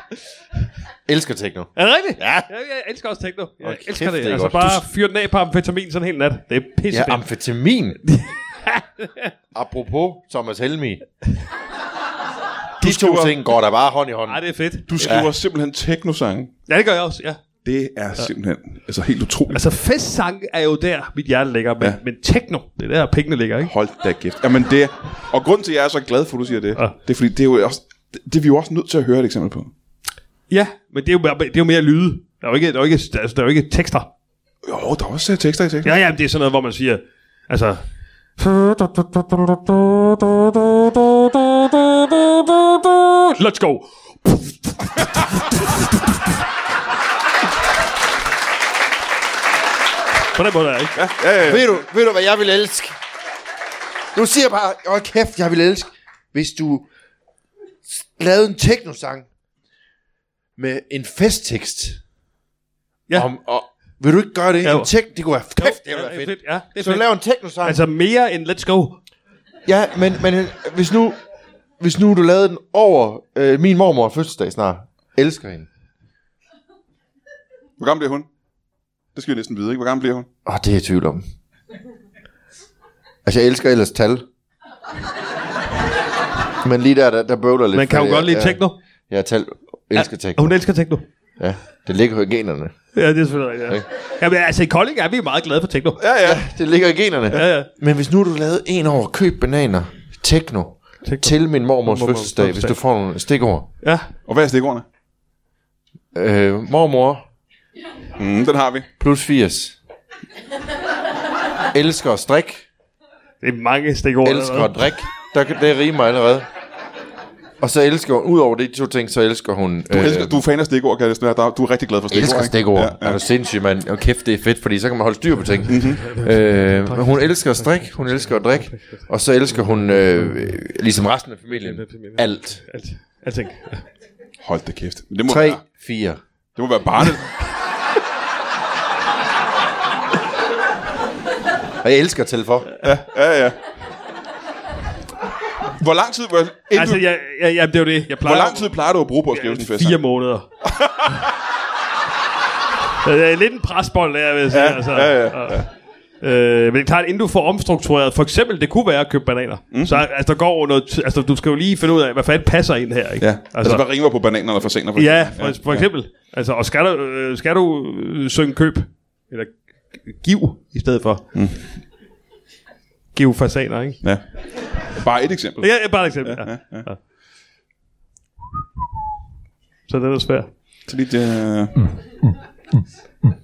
B: Elsker techno.
C: Er det rigtigt?
B: Ja.
C: Jeg, jeg elsker også techno. Jeg
B: Hold
C: elsker
B: kæft,
C: det.
B: det er
C: altså
B: godt.
C: bare fyre den af på amfetamin sådan en hel nat. Det er
B: Ja,
C: pissefedt. Ja,
B: amfetamin. *laughs* Apropos Thomas Helmi. De to
A: skriver-
B: ting går der bare hånd i hånd.
C: Ej, det er fedt.
A: Du skriver ja. simpelthen teknosange.
C: Ja, det gør jeg også, ja.
A: Det er simpelthen altså helt utroligt. Altså,
C: Altså festsang er jo der, mit hjerte ligger. Men,
A: Ja.
C: ja. men techno, det er der, pengene ligger, ikke?
A: Hold da kæft. Jamen det, og grunden til, at jeg er så glad for, at du siger det, ja.
C: Ja.
A: det er fordi, det er jo også, det, det er vi jo også nødt til at høre et eksempel på.
C: Ja, men det er jo, mere- det er jo mere lyde. Der er jo ikke, der er jo ikke, der er, der er jo ikke tekster.
A: Jo, der er også øh, tekster i tekster.
C: Ja, ja, men det er sådan noget, hvor man siger, altså... Let's go! På den måde er jeg, ikke?
B: Ved du, ved du, hvad jeg vil elske? Du siger bare, åh kæft, jeg vil elske, hvis du s- lavede en teknosang med en festtekst.
C: Ja.
B: Om, og, vil du ikke gøre det?
C: Ja,
B: Ja, en
C: jo.
B: tek, det kunne være kæft, det ville være
C: Ja,
B: fedt.
C: det er Ja, det er
B: Så
C: fedt.
B: lav en teknosang. Altså,
C: Altså mere end let's go.
B: ja, men, men hvis nu, hvis nu du lavede den over øh, min mormor er fødselsdag snart. Elsker hende.
A: Hvor gammel bliver hun? Det skal vi næsten vide, ikke? Hvor gammel bliver hun?
B: Åh, det er jeg i tvivl om. Altså, jeg elsker ellers tal. Men lige der, der, der bøvler lidt.
C: Man kan jo
B: fordi
C: godt lide
B: jeg,
C: techno.
B: Jeg, jeg tal, elsker
C: Ja,
B: techno.
C: Hun elsker techno.
B: Ja, det ligger i generne.
C: Ja, det er selvfølgelig rigtigt. Ja. Jamen, altså i Kolding er vi meget glade for techno.
A: Ja, ja.
B: Det ligger i generne.
C: Ja, ja.
B: Men hvis nu du lavede en over køb bananer, techno,
C: Techno.
B: til min mormors
C: Mormors
B: fødselsdag, hvis
C: fødselsdag.
B: du får nogle stikord.
C: Ja.
A: Og hvad er stikordene?
B: Øh, mormor
A: Mm, den har vi.
B: plus 80. Elsker at strikke.
C: Det er mange stikord.
B: elsker at
C: allerede.
B: drikke. Der, kan- det rimer allerede. Og så elsker hun, ud over de to ting, så elsker hun... øh,
A: Du, elsker, du er fan af stikord, kan jeg næsten være. Der- Du er rigtig glad for stikord.
B: elsker
A: ikke?
B: stikord.
A: Ja, ja.
B: Er du sindssyg, mand? Og kæft, det er fedt, fordi så kan man holde styr på ting. øh, men hun elsker at strikke, hun elsker at drikke, og så elsker hun, øh, ligesom resten af familien, alt.
C: Alt. Alting.
A: Hold da kæft. Men det må,
B: 3,
A: være,
B: 4.
A: det må være barnet.
B: Og jeg elsker at tælle for.
A: Ja, ja. Hvor lang tid, hvor, inden
C: Altså,
A: du,
C: jeg, jeg, jamen, det er jo det. Jeg plejer
A: hvor lang tid plejer du at bruge på at skrive sådan en fest?
C: Fire måneder.
A: *laughs*
C: det er lidt en presbold, der, vil jeg sige. Ja, altså.
A: ja, ja,
C: Øh, men det er klart, inden du får omstruktureret, for eksempel, det kunne være at købe bananer. Mm. Så altså, der går jo noget tid, altså, du skal jo lige finde ud af, hvad fanden passer ind her, ikke?
A: Ja, altså, altså hvad rimer på bananerne for senere? For
C: ja, for, ja, for eksempel. Altså, og skal du, øh, skal du øh, synge køb? Eller giv i stedet for. Mm. Giv fasaner, ikke?
A: ja. Bare et eksempel.
C: Ja, ja, bare et eksempel. Ja, ja, ja. Ja. Så det er svært.
A: Så lidt, øh...
C: Mm.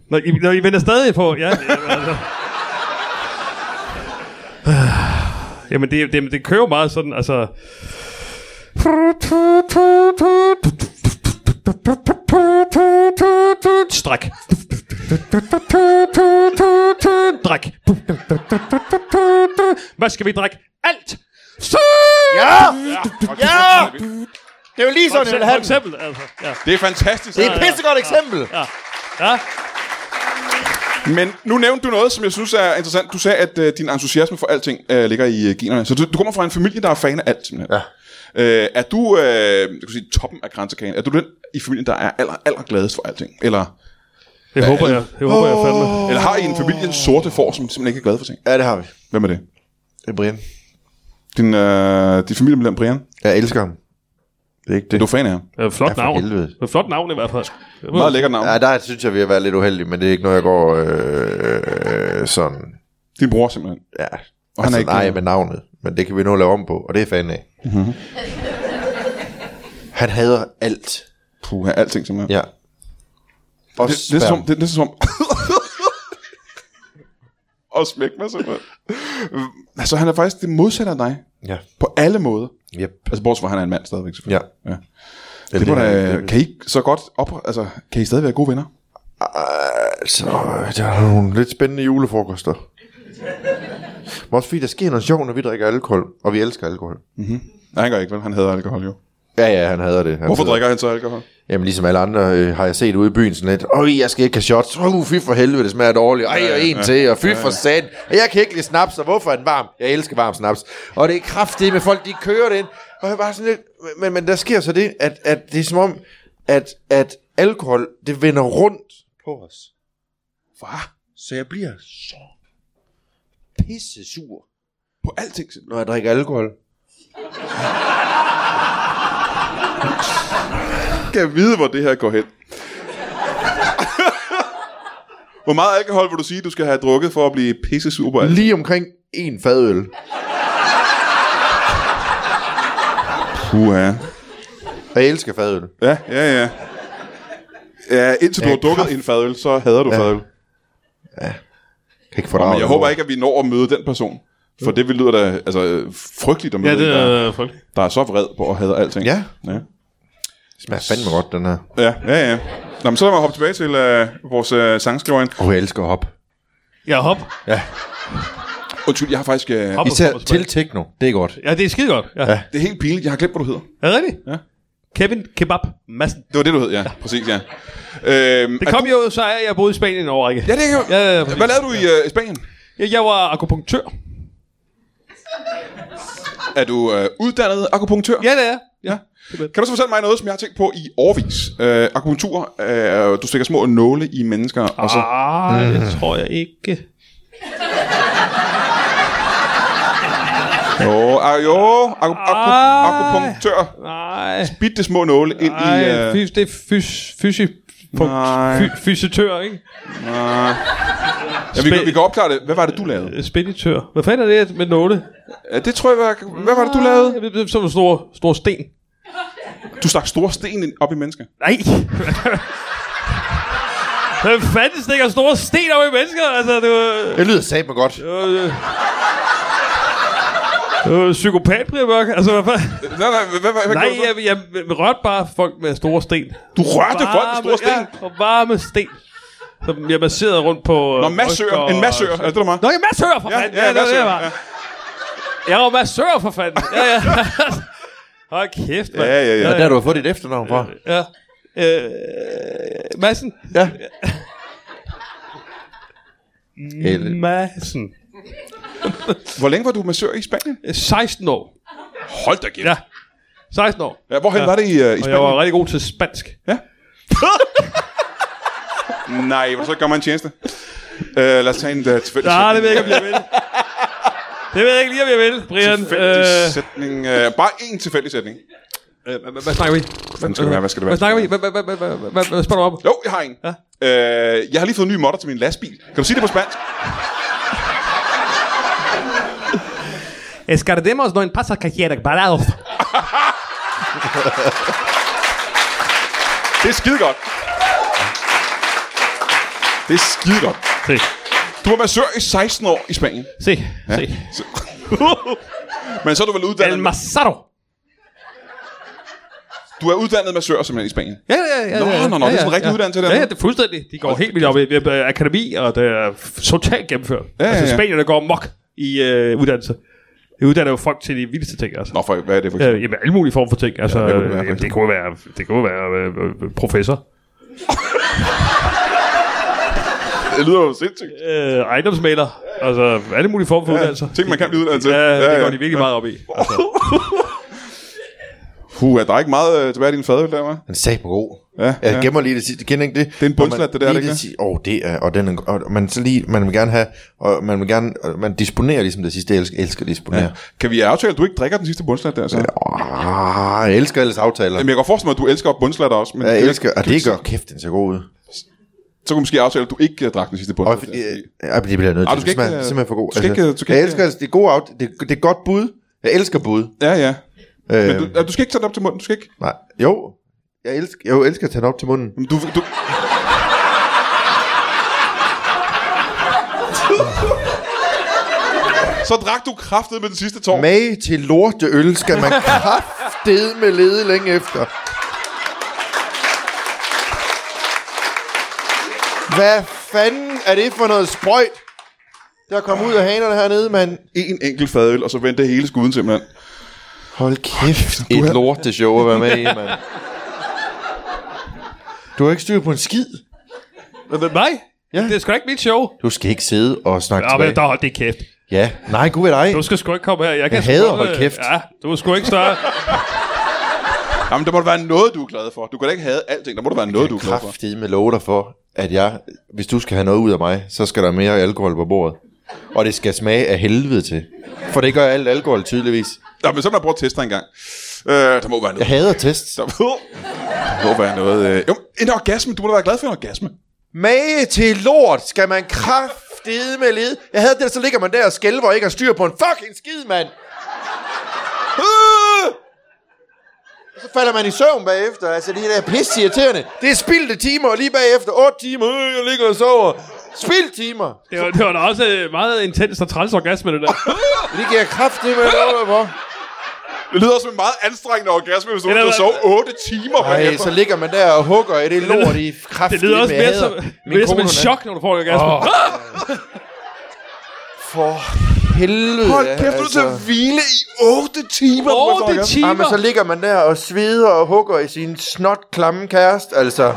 C: Når I, når I venter stadig på, ja. jamen, altså. Jamen, det, det, det kører jo meget sådan, altså... Stræk. Dræk. Hvad skal vi drikke? Alt! Så!
B: Ja! Ja! Det er jo lige
C: For
B: sådan, jeg
C: eksempel,
B: vil
C: for
B: have den.
C: eksempel altså. Ja.
A: Det er fantastisk.
B: Det er et pissegodt eksempel.
C: ja.
A: Men nu nævnte du noget, som jeg synes er interessant. Du sagde, at øh, din entusiasme for alting øh, ligger i øh, generne. Så du, du kommer fra en familie, der er fan af alt, simpelthen. Ja. Øh, er du, øh, jeg kan sige, toppen af grænsekagen? Er du den i familien, der er aller, aller gladest for alting? Eller,
C: Det håber jeg. Det håber jeg fandme.
A: oh. eller har I en familie sorte får, som simpelthen ikke er glad for ting?
B: Ja, det har vi.
A: Hvem er det?
B: Det er Brian.
A: Din, øh, din familiemedlem Brian?
B: Jeg elsker ham. Det er ikke det.
A: Du er fan af ham.
C: Det er et
B: Ja,
C: flot
B: for
C: navn.
B: helvede.
C: Det er et flot navn i hvert fald.
A: Meget lækkert navn.
B: Ja, der synes jeg, vi har været lidt uheldige, men det er ikke noget, jeg går øh, øh, sådan...
A: Din bror, simpelthen.
B: Ja. Og
A: han er
B: altså,
A: ikke-
B: er ikke nej med navnet, men det kan vi nu lave om på, og det er fanden af. Mm-hmm.
A: Mhm.
B: Han hader alt.
A: Puh, alting, simpelthen.
B: Ja. Og
A: Det, det, er som, det, det er som... og smæk mig simpelthen. Altså, han er faktisk det modsatte af dig.
B: Ja.
A: På alle måder.
B: Yep.
A: Altså, bortset fra, at han er en mand stadigvæk,
B: Ja.
A: selvfølgelig. Ja. Det, det, må
B: er-
A: da,
B: det-
A: kan I ikke så godt op... Altså, kan I stadig være gode venner?
B: Altså, der er nogle lidt spændende julefrokoster. Men også fordi der sker noget sjovt, når vi drikker alkohol, og vi elsker alkohol.
A: Nej, han gør ikke, vel? Han hader alkohol, jo.
B: Ja, ja, han hader det. Han
A: Hvorfor
B: sidder-
A: drikker han så alkohol?
B: Jamen ligesom alle andre øh, har jeg set ude i byen sådan lidt, Øj, jeg skal ikke have shots, uh, fy for helvede, det smager dårligt, ej, og en til, og fy for sand, og jeg kan ikke lide snaps, og hvorfor er den varm? Jeg elsker varm snaps. Og det er kraftigt med folk, de kører det ind, og jeg bare sådan lidt, men, men der sker så det, at, at det er som om, at, at alkohol, det vender rundt på os. Hvad? Så jeg bliver så pisse sur,
A: På alting. simpelthen.
B: når jeg drikker alkohol.
A: Kan jeg vide, hvor det her går hen? hvor meget alkohol vil du sige, du skal have drukket for at blive pisse sur på alt?
B: Lige omkring en fadøl.
A: Puha.
B: Og jeg elsker fadøl.
A: Ja, ja, ja. Ja, indtil du
B: Ja,
A: har drukket en fadøl, så hader du
B: Ja.
A: fadøl.
B: Kan ikke få
A: Men jeg håber ikke, at vi når at møde den person. For det vil lyder da altså, øh, frygteligt at møde
C: Ja, det
A: en, der,
C: er folk.
A: der er så vred på at have alting.
B: Ja.
A: Ja,
B: Det smager fandme godt, den her.
A: ja, ja. ja. Nå, men så lad mig hoppe tilbage til øh, vores øh, sangskriverinde.
B: Åh, oh, jeg elsker hop.
C: Ja, hop.
A: Undskyld, jeg har faktisk... Øh,
C: Hop.
B: Især til techno, det er godt.
C: Ja, det er skide godt. Ja. ja.
A: det er helt pinligt, jeg har glemt, hvad du hedder.
C: Er det rigtigt?
A: Ja.
C: Kevin Kebab Madsen.
A: Det var det, du hed, ja. Præcis, ja. Øhm,
C: Det
A: er
C: kom
A: du...
C: jo, så er jeg boede i Spanien en overrække.
A: Ja, det er jo...
C: Ja, ja, ja.
A: Hvad lavede du i øh, Spanien?
C: Jeg, jeg var akupunktør.
A: Er du øh, uddannet akupunktør?
C: Ja, det er jeg.
A: ja. Kan du så fortælle mig noget, som jeg har tænkt på i årvis? Øh, akupunktur, øh, du stikker små nåle i mennesker, og så... Øh.
C: Ah, det tror jeg ikke.
A: Jo, ah, jo, aku, aku,
C: Ej.
A: akupunktør.
C: Nej.
A: Bitte små nåle ind
C: Nej,
A: i... Øh,
C: fys, det er fys, fysi, punkt,
A: Nej.
C: fy, fysitør, ikke?
A: ja, vi, kan- vi kan opklare det. Hvad var det, du lavede?
C: Øh, Speditør. Hvad fanden er det med nåle?
A: Ja, det tror jeg, var, hvad var det, du lavede?
C: Jeg ved, det er som en stor, stor sten.
A: Du stak store sten ind- op i mennesker.
C: Nej.
A: *laughs*
C: Hvem fanden stikker store sten op i mennesker? Altså, det var...
B: Det lyder satme godt.
C: Det var, øh, det var psykopat, Brian Mørk. Altså, hvad fanden?
A: Øh, Nej, nej, hvad, hvad, hvad
C: Nej,
A: gjorde du så?
C: jeg, jeg, jeg rørte bare folk med store sten.
A: Du rørte folk med store sten?
C: Ja, og varme sten. Som jeg masserede rundt på... øh,
A: Nå,
C: ryg
A: massør.
C: og-
A: En massør. Er det det, du meget?
C: Nå, jeg massør for
A: Ja,
C: fanden.
A: ja,
C: det var det,
A: massør,
C: jeg var.
A: ja.
C: Jeg var massør for fanden. Ja, ja. *laughs* Hold kæft, mand.
A: Ja, ja, ja.
B: Ja, der har du har fået dit efternavn fra.
C: ja. Øh, Madsen.
B: Ja. Eller-
C: Madsen.
A: Hvor længe var du massør i Spanien?
C: 16 Øh, år.
A: Hold da kæft.
C: Ja. 16 år.
A: Ja, hvorhen ja. var det i, uh, i
C: Og jeg var
A: Spanien?
C: rigtig god til spansk.
A: Nej, hvor så gør man en tjeneste. Uh, lad os tage en uh, tilfældig
C: Nej, det ved
A: sætning.
C: jeg ikke,
A: *laughs*
C: om jeg vil. Det ved jeg ikke lige, om jeg vil, Brian.
A: Tilfældig
C: Øh,
A: sætning. Uh, bare en tilfældig sætning.
C: Øh, Hvad hvad snakker vi?
A: Hvad skal det være? Hvad skal det være?
C: Hvad snakker vi? Hvad- hvad- hvad- hvad- hvad- Hvad hvad spørger du om?
A: Jo, jeg har en. Ja.
C: Ja.
A: Uh, jeg har lige fået en ny modder til min lastbil. Kan du sige det på spansk?
C: Escardemos no en pasa cajera parados.
A: Det er skide godt. Det er skide godt.
C: Se,
A: Du var massør i 16 år i Spanien.
C: se, se.
A: Så.
C: *laughs*
A: Men så er du vel uddannet...
C: El Mazaro.
A: Du er uddannet massør simpelthen i Spanien.
C: Ja, ja, ja.
A: Nå,
C: ja, ja,
A: nå, nå, det er sådan en rigtig
C: ja.
A: uddannelse, det
C: Ja,
A: der.
C: ja, det er fuldstændig. De går helt vildt op i i, øh, akademi, og det er f- totalt gennemført.
A: Ja, ja, ja.
C: Altså, spanierne går mok i øh, uddannelse. De uddanner jo folk til de vildeste ting, altså.
A: Nå, for, hvad er det for
C: Ja,
A: eksempel?
C: jamen, alle mulige former for ting. Altså,
A: hvad kunne det være,
C: øh,
A: for
C: jamen,
A: eksempel?
C: det kunne være, det kunne være øh, øh, professor.
A: Det lyder jo sindssygt.
C: øh, ejendomsmaler. Altså, alle mulige former for ja, uddannelser.
A: ting, man kan blive uddannet til.
C: Ja,
A: Ja,
C: ja,
A: ja.
C: det går de virkelig meget op i. Altså.
A: Puh, der er ikke meget øh, tilbage i din fadøl der, hva'?
B: Den sagde på god.
A: Ja,
B: Jeg
A: ja.
B: gemmer lige det sidste. Kender ikke det? Det
A: er en bundslat, det der, er det ikke det?
B: Åh, oh, det er, og den er, og man så lige, man vil gerne have, og man vil gerne, og man disponerer ligesom det sidste, jeg elsker, elsker at disponere.
A: Kan vi aftale, at du ikke drikker den sidste bundslat der, så? Ja.
B: Ja. Oh, jeg elsker alles aftaler.
A: Jamen, jeg kan godt forestille mig, at du elsker bundslatter også, men
B: Jeg
A: kan-
B: elsker, og
A: kan vi-
B: det gør kæft, den ser god ud.
A: Så kunne vi måske aftale, at du ikke øh, drak den sidste
B: Og
A: bundslatter.
B: fordi, ja, det bliver jeg nødt
A: Ej,
B: til.
A: du skal
B: Det smager
A: ikke, øh,
B: simpelthen for god.
A: du skal ikke, øh, du skal
B: jeg
A: ikke,
B: elsker, altså, det er gode aft- det, det er godt bud. Jeg elsker bud.
A: Ja, ja. Men
B: Øh,
A: du, ja, du skal ikke tage den op til munden, du skal ikke.
B: nej, jo, jeg elsker, jeg elsker at tage den op til munden.
A: Men Du, du... *laughs* Så drak du kraftet med den sidste tår. Men...
B: Mage til lorteøl skal man kraftede med lede længe efter. Hvad fanden er det for noget sprøjt? Der kom ud af hanerne hernede, mand.
A: En enkelt fadøl, og så vendte hele skuden simpelthen.
B: Hold kæft, et har... lorteshow at være med i, mand. Du har ikke styr på en skid.
C: Men, men mig?
B: Ja.
C: Ja. Det er sgu da ikke mit show.
B: Du skal ikke sidde og snakke
C: Ja,
B: tilbage.
C: men der hold det kæft.
B: Ja, nej, god ved dig.
C: Du skal sgu ikke komme her. Jeg, kan
B: Jeg
C: sgu
B: hader
C: godt,
B: hold
C: øh,
B: kæft.
C: Ja, du er sgu ikke større.
A: Jamen, der må der være noget, du er glad for. Du kan da ikke have alting. Der må der være noget, du er glad for.
B: Kraftigt med love dig for, at jeg, hvis du skal have noget ud af mig, så skal der mere alkohol på bordet. Og det skal smage af helvede til. For det gør alt alkohol tydeligvis.
A: Nå, men så må jeg prøve at teste dig en gang. Øh, der må være
B: Jeg
A: noget.
B: hader test.
A: Der må, der må være noget. Øh. Jo, en orgasme. Du må da være glad for en orgasme.
B: Mage til lort skal man kraftede med led. Jeg havde det, så ligger man der og skælver og ikke har styr på en fucking skid, mand. Øh! Og Så falder man i søvn bagefter. Altså, det er pisse irriterende. Det er spildte timer, og lige bagefter 8 timer. Øh, jeg ligger og sover. Spild timer.
C: Det var, det var da også øh, meget intens og træls orgasme, *laughs* det der.
B: Det giver jeg kraftede med lov for.
A: Det lyder som en meget anstrengende orgasme, hvis du
C: Eller
A: har
C: hvad?
A: sovet 8 timer.
B: Ej, så ligger man der og hugger i det lort i kraft.
C: Det lyder også mere som, mere som en chok, når du får en orgasme. Oh.
B: For helvede.
A: Hold kæft, du er til at
B: altså.
A: hvile i 8 timer. du
C: Otte
A: er fucking-
C: timer.
B: Ja, men så ligger man der og sveder og hugger i sin snot klamme kæreste, altså.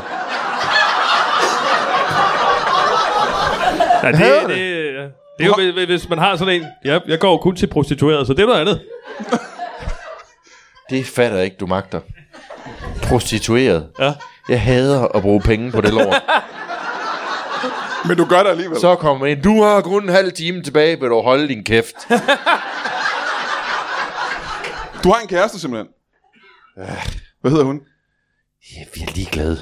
C: Ja,
B: hader
C: det, det, øh, ja. det er jo, hvis- hvis man har sådan en... Ja, jeg går jo kun til prostitueret, så det er noget andet.
B: Det fatter jeg ikke, du magter. Prostitueret.
C: Ja.
B: Jeg hader at bruge penge på det lort.
A: Men du gør det alligevel.
B: Så kommer man ind. Du har kun en halv time tilbage, men du holde din kæft.
A: Du har en kæreste simpelthen. Hvad hedder hun?
B: Jeg er ligeglad.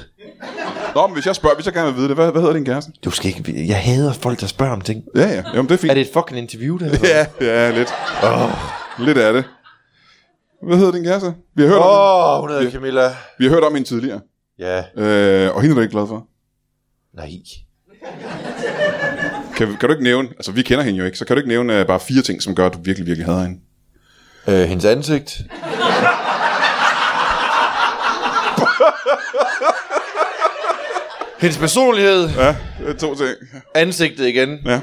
A: Nå, men hvis jeg spørger, hvis jeg gerne vil vide det, hvad, hvad hedder din kæreste?
B: Du skal ikke... Jeg hader folk, der spørger om ting.
A: Ja, ja. Jamen, det er fint.
B: Er det et fucking interview, det her?
A: Ja, ja, lidt. Oh. Lidt af det. Hvad hedder din kæreste? Vi har hørt, oh. om,
B: Åh, oh, hun hedder Camilla.
A: hende- vi har hørt om hende tidligere.
B: Ja.
A: Øh, og hende er du ikke glad for.
B: Nej.
A: Kan, kan du ikke nævne, altså vi kender hende jo ikke, så kan du ikke nævne uh, bare fire ting, som gør, at du virkelig, virkelig hader hende?
B: Øh, hendes ansigt. hendes personlighed.
A: Ja, øh, to ting.
B: Ansigtet igen.
A: Ja.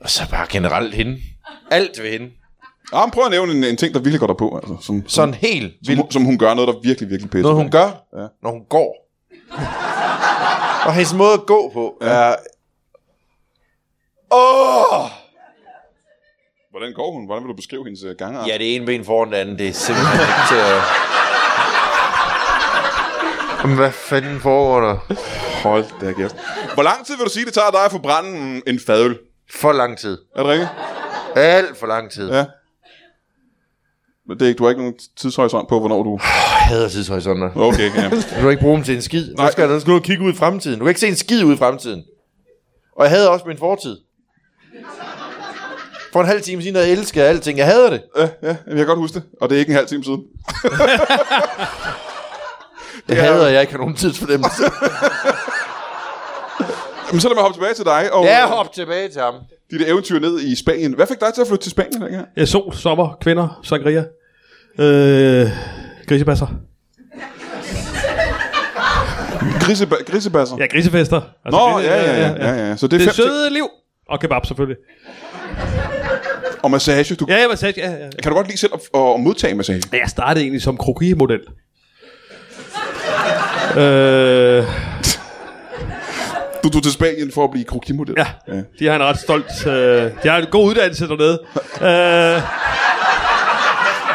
B: Og så bare generelt hende. Alt ved hende.
A: Ah, men prøv at nævne en, en ting, der virkelig går dig på, altså, som, som,
B: Sådan helt
A: som,
B: vildt.
A: hun- som, hun gør noget, der virkelig, virkelig pisser.
B: Noget hun
A: dig.
B: gør,
A: Ja.
B: når hun går. Og hendes måde at gå på er... Åh! Oh!
A: Hvordan går hun? Hvordan vil du beskrive hendes uh, gange?
B: Ja, det ene ben foran det andet, det er simpelthen ikke til at... Hvad fanden foregår der?
A: Hold da kæft. Hvor lang tid vil du sige, det tager dig at forbrænde en- en fadøl?
B: For lang tid.
A: Er det rigtigt?
B: Alt for lang tid.
A: Ja. Men det er ikke, du har ikke nogen tidshorisont på, hvornår du...
B: Jeg hader tidshorisonter.
A: Okay,
B: *laughs*
A: ja.
B: Du kan ikke bruge dem til en skid. Nej. Nu skal, nu skal du kigge ud i fremtiden. Du kan ikke se en skid ud i fremtiden. Og jeg havde også min fortid. For en halv time siden, jeg elskede alting. Jeg hader det.
A: Ja, ja, jeg kan godt huske det. Og det er ikke en halv time siden.
B: Det
A: Ja.
B: hader jeg ikke har nogen *laughs* tidsfornemmelse.
A: Men så lad mig hoppe tilbage til dig og
B: Ja, hop tilbage til ham.
A: dit eventyr ned i Spanien. Hvad fik dig til at flytte til Spanien dengang?
C: Ja, sol, sommer, kvinder, sangria. Øh, grisebasser.
A: Griseba- grisebasser?
C: Ja, grisefester. Altså,
A: Nå,
C: grise-
A: ja, ja, ja, ja, ja. Så det er,
C: Det
A: fem
C: er søde liv. Og kebab selvfølgelig.
A: ting. Og massage. Du,
C: Ja, jeg var sat, ja, ja.
A: Kan du godt lide selv at, at modtage massage?
C: Men Jeg startede egentlig som kroki-model. øh,
A: Du tog til Spanien for at blive krokimodel.
C: ja,
A: ja.
C: de har en ret stolt... Øh, de har en god uddannelse dernede. Øh,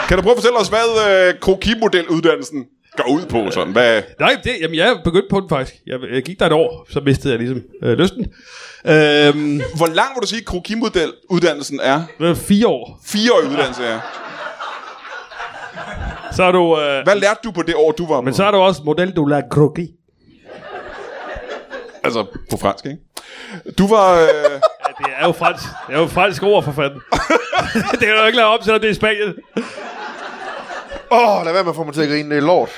A: Kan du prøve at fortælle os, hvad øh, krokimodeluddannelsen går ud på? Sådan? Hvad,
C: Nej, det, jamen jeg begyndte på den faktisk. Jeg, jeg gik der et år, så mistede jeg ligesom øh, lysten. Øhm,
A: hvor lang vil du sige, krokimodeluddannelsen er?
C: det var fire år.
A: Fire år uddannelse er.
C: Så er du... Øh,
A: Hvad lærte du på det år, du var
C: men
A: på?
C: så er du også model du la croquis.
A: Altså, på fransk, ikke? Du var... Øh,
C: Ja, det er jo fransk. Det er jo fransk ord for
A: *laughs*
C: fanden. det kan du jo ikke lave om, selvom det er i Spanien.
B: Åh, oh, lad være med at få mig til at grine. Det er lort.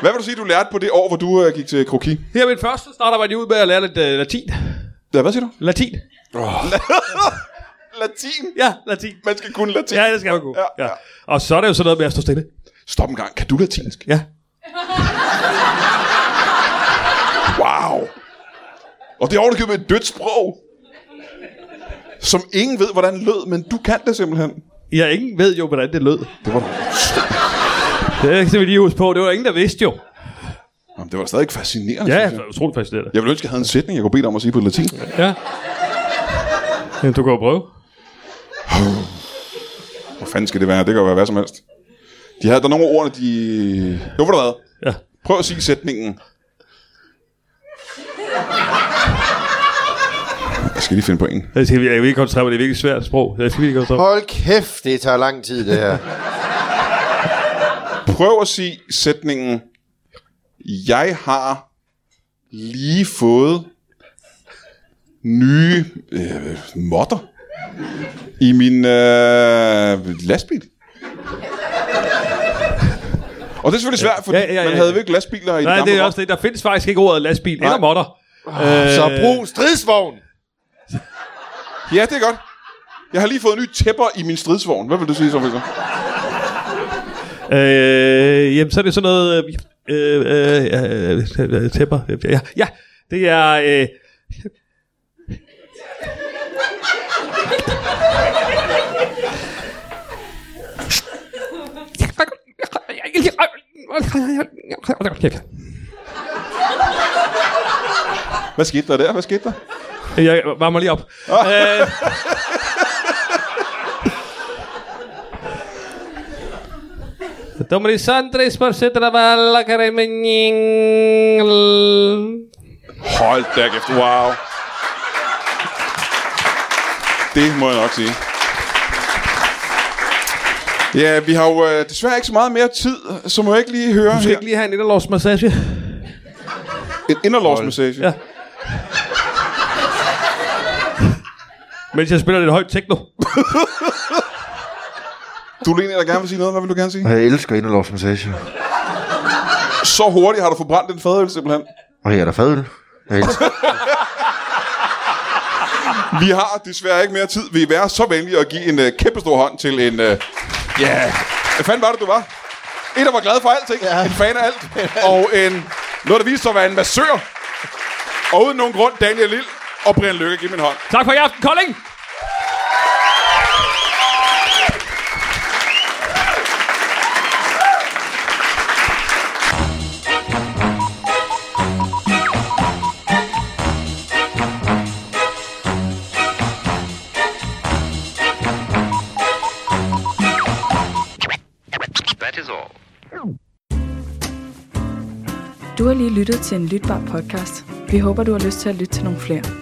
A: hvad vil du sige, du lærte på det år, hvor du øh, gik til kroki?
C: Her min første starter var de ud med at lære lidt øh, latin.
A: Ja, hvad siger du?
C: Latin.
A: Latin.
C: Ja, latin.
A: Man skal kunne latin.
C: Ja, det skal man kunne.
A: Ja, ja.
C: Ja. Og så er det jo sådan noget med at stå stille.
A: Stop en gang. Kan du latinsk?
C: Ja.
A: Wow. Og det er ovenikøbet et dødt sprog, som ingen ved, hvordan lød, men du kan det simpelthen.
C: Jeg ingen ved jo, hvordan det lød.
A: Det var,
C: Det skal vi lige huske på. Det var der ingen, der vidste jo.
A: jamen, det var stadig fascinerende,
C: Ja,
A: synes jeg.
C: det var utroligt fascinerende.
A: Jeg ville ønske, jeg havde en sætning, jeg kunne bede dig om at sige på latin.
C: Ja. Jamen, du kan jo prøve.
A: Hvor fanden skal det være? Det kan jo være hvad som helst. De havde, der er nogle af ordene, de... Jo, ved du hvad?
C: Ja.
A: Prøv at sige sætningen. Jeg skal lige finde på en.
C: Jeg skal, jeg vil ikke koncentrere mig, det er virkelig svært sprog. Jeg skal virkelig koncentrere mig.
B: Hold kæft, det tager lang tid, det *laughs* her.
A: Prøv at sige sætningen. Jeg har lige fået nye øh, modder i min øh, lastbil. Og det er selvfølgelig svært, fordi ja, ja, ja, ja. man havde jo ikke lastbiler i
C: Nej,
A: gamle
C: det er
A: Rom.
C: også det. Der findes faktisk ikke ordet lastbil
A: Nej.
C: eller modder.
B: Så brug stridsvogn.
A: Ja, det er godt. Jeg har lige fået nye tæpper i min stridsvogn. Hvad vil du sige så, Victor?
C: Øh, jamen, så er det sådan noget... Øh, øh, øh, øh, øh, tæpper. Ja, ja, det er... Øh,
A: Hvad skete der der? Hvad skete der?
C: jeg varmer lige *laughs* op. øh, Domri Sandri sporsetra valla karemenjing
A: Hold da kæft, wow. Det må jeg nok sige. Ja, vi har jo øh, desværre ikke så meget mere tid, så må jeg ikke lige høre
C: Du skal
A: her.
C: ikke lige have en inderlovsmassage?
A: En inderlovsmassage.
C: Ja. Mens jeg spiller lidt højt techno.
A: Du er en, der gerne vil sige noget. Hvad vil du gerne sige?
B: Jeg elsker inderlovsmassage.
A: Så hurtigt har du forbrændt den fadøl simpelthen.
B: Og her er der fadøl. Jeg elsker.
A: Vi har desværre ikke mere tid. Vil I være så venlige at give en øh, kæmpestor hånd til en... Øh, ja... Hvad fanden var det, du var? En, der var glad for alt, ikke? Ja. En fan af alt. Og en... Noget, der viste sig at være en massør. Og uden nogen grund, Daniel Lille og Brian Lykke. Giv min hånd.
C: Tak for i aften, Kolding!
D: That is all.
E: Du har lige lyttet til en lytbar podcast. Vi håber, du har lyst til at lytte til nogle flere.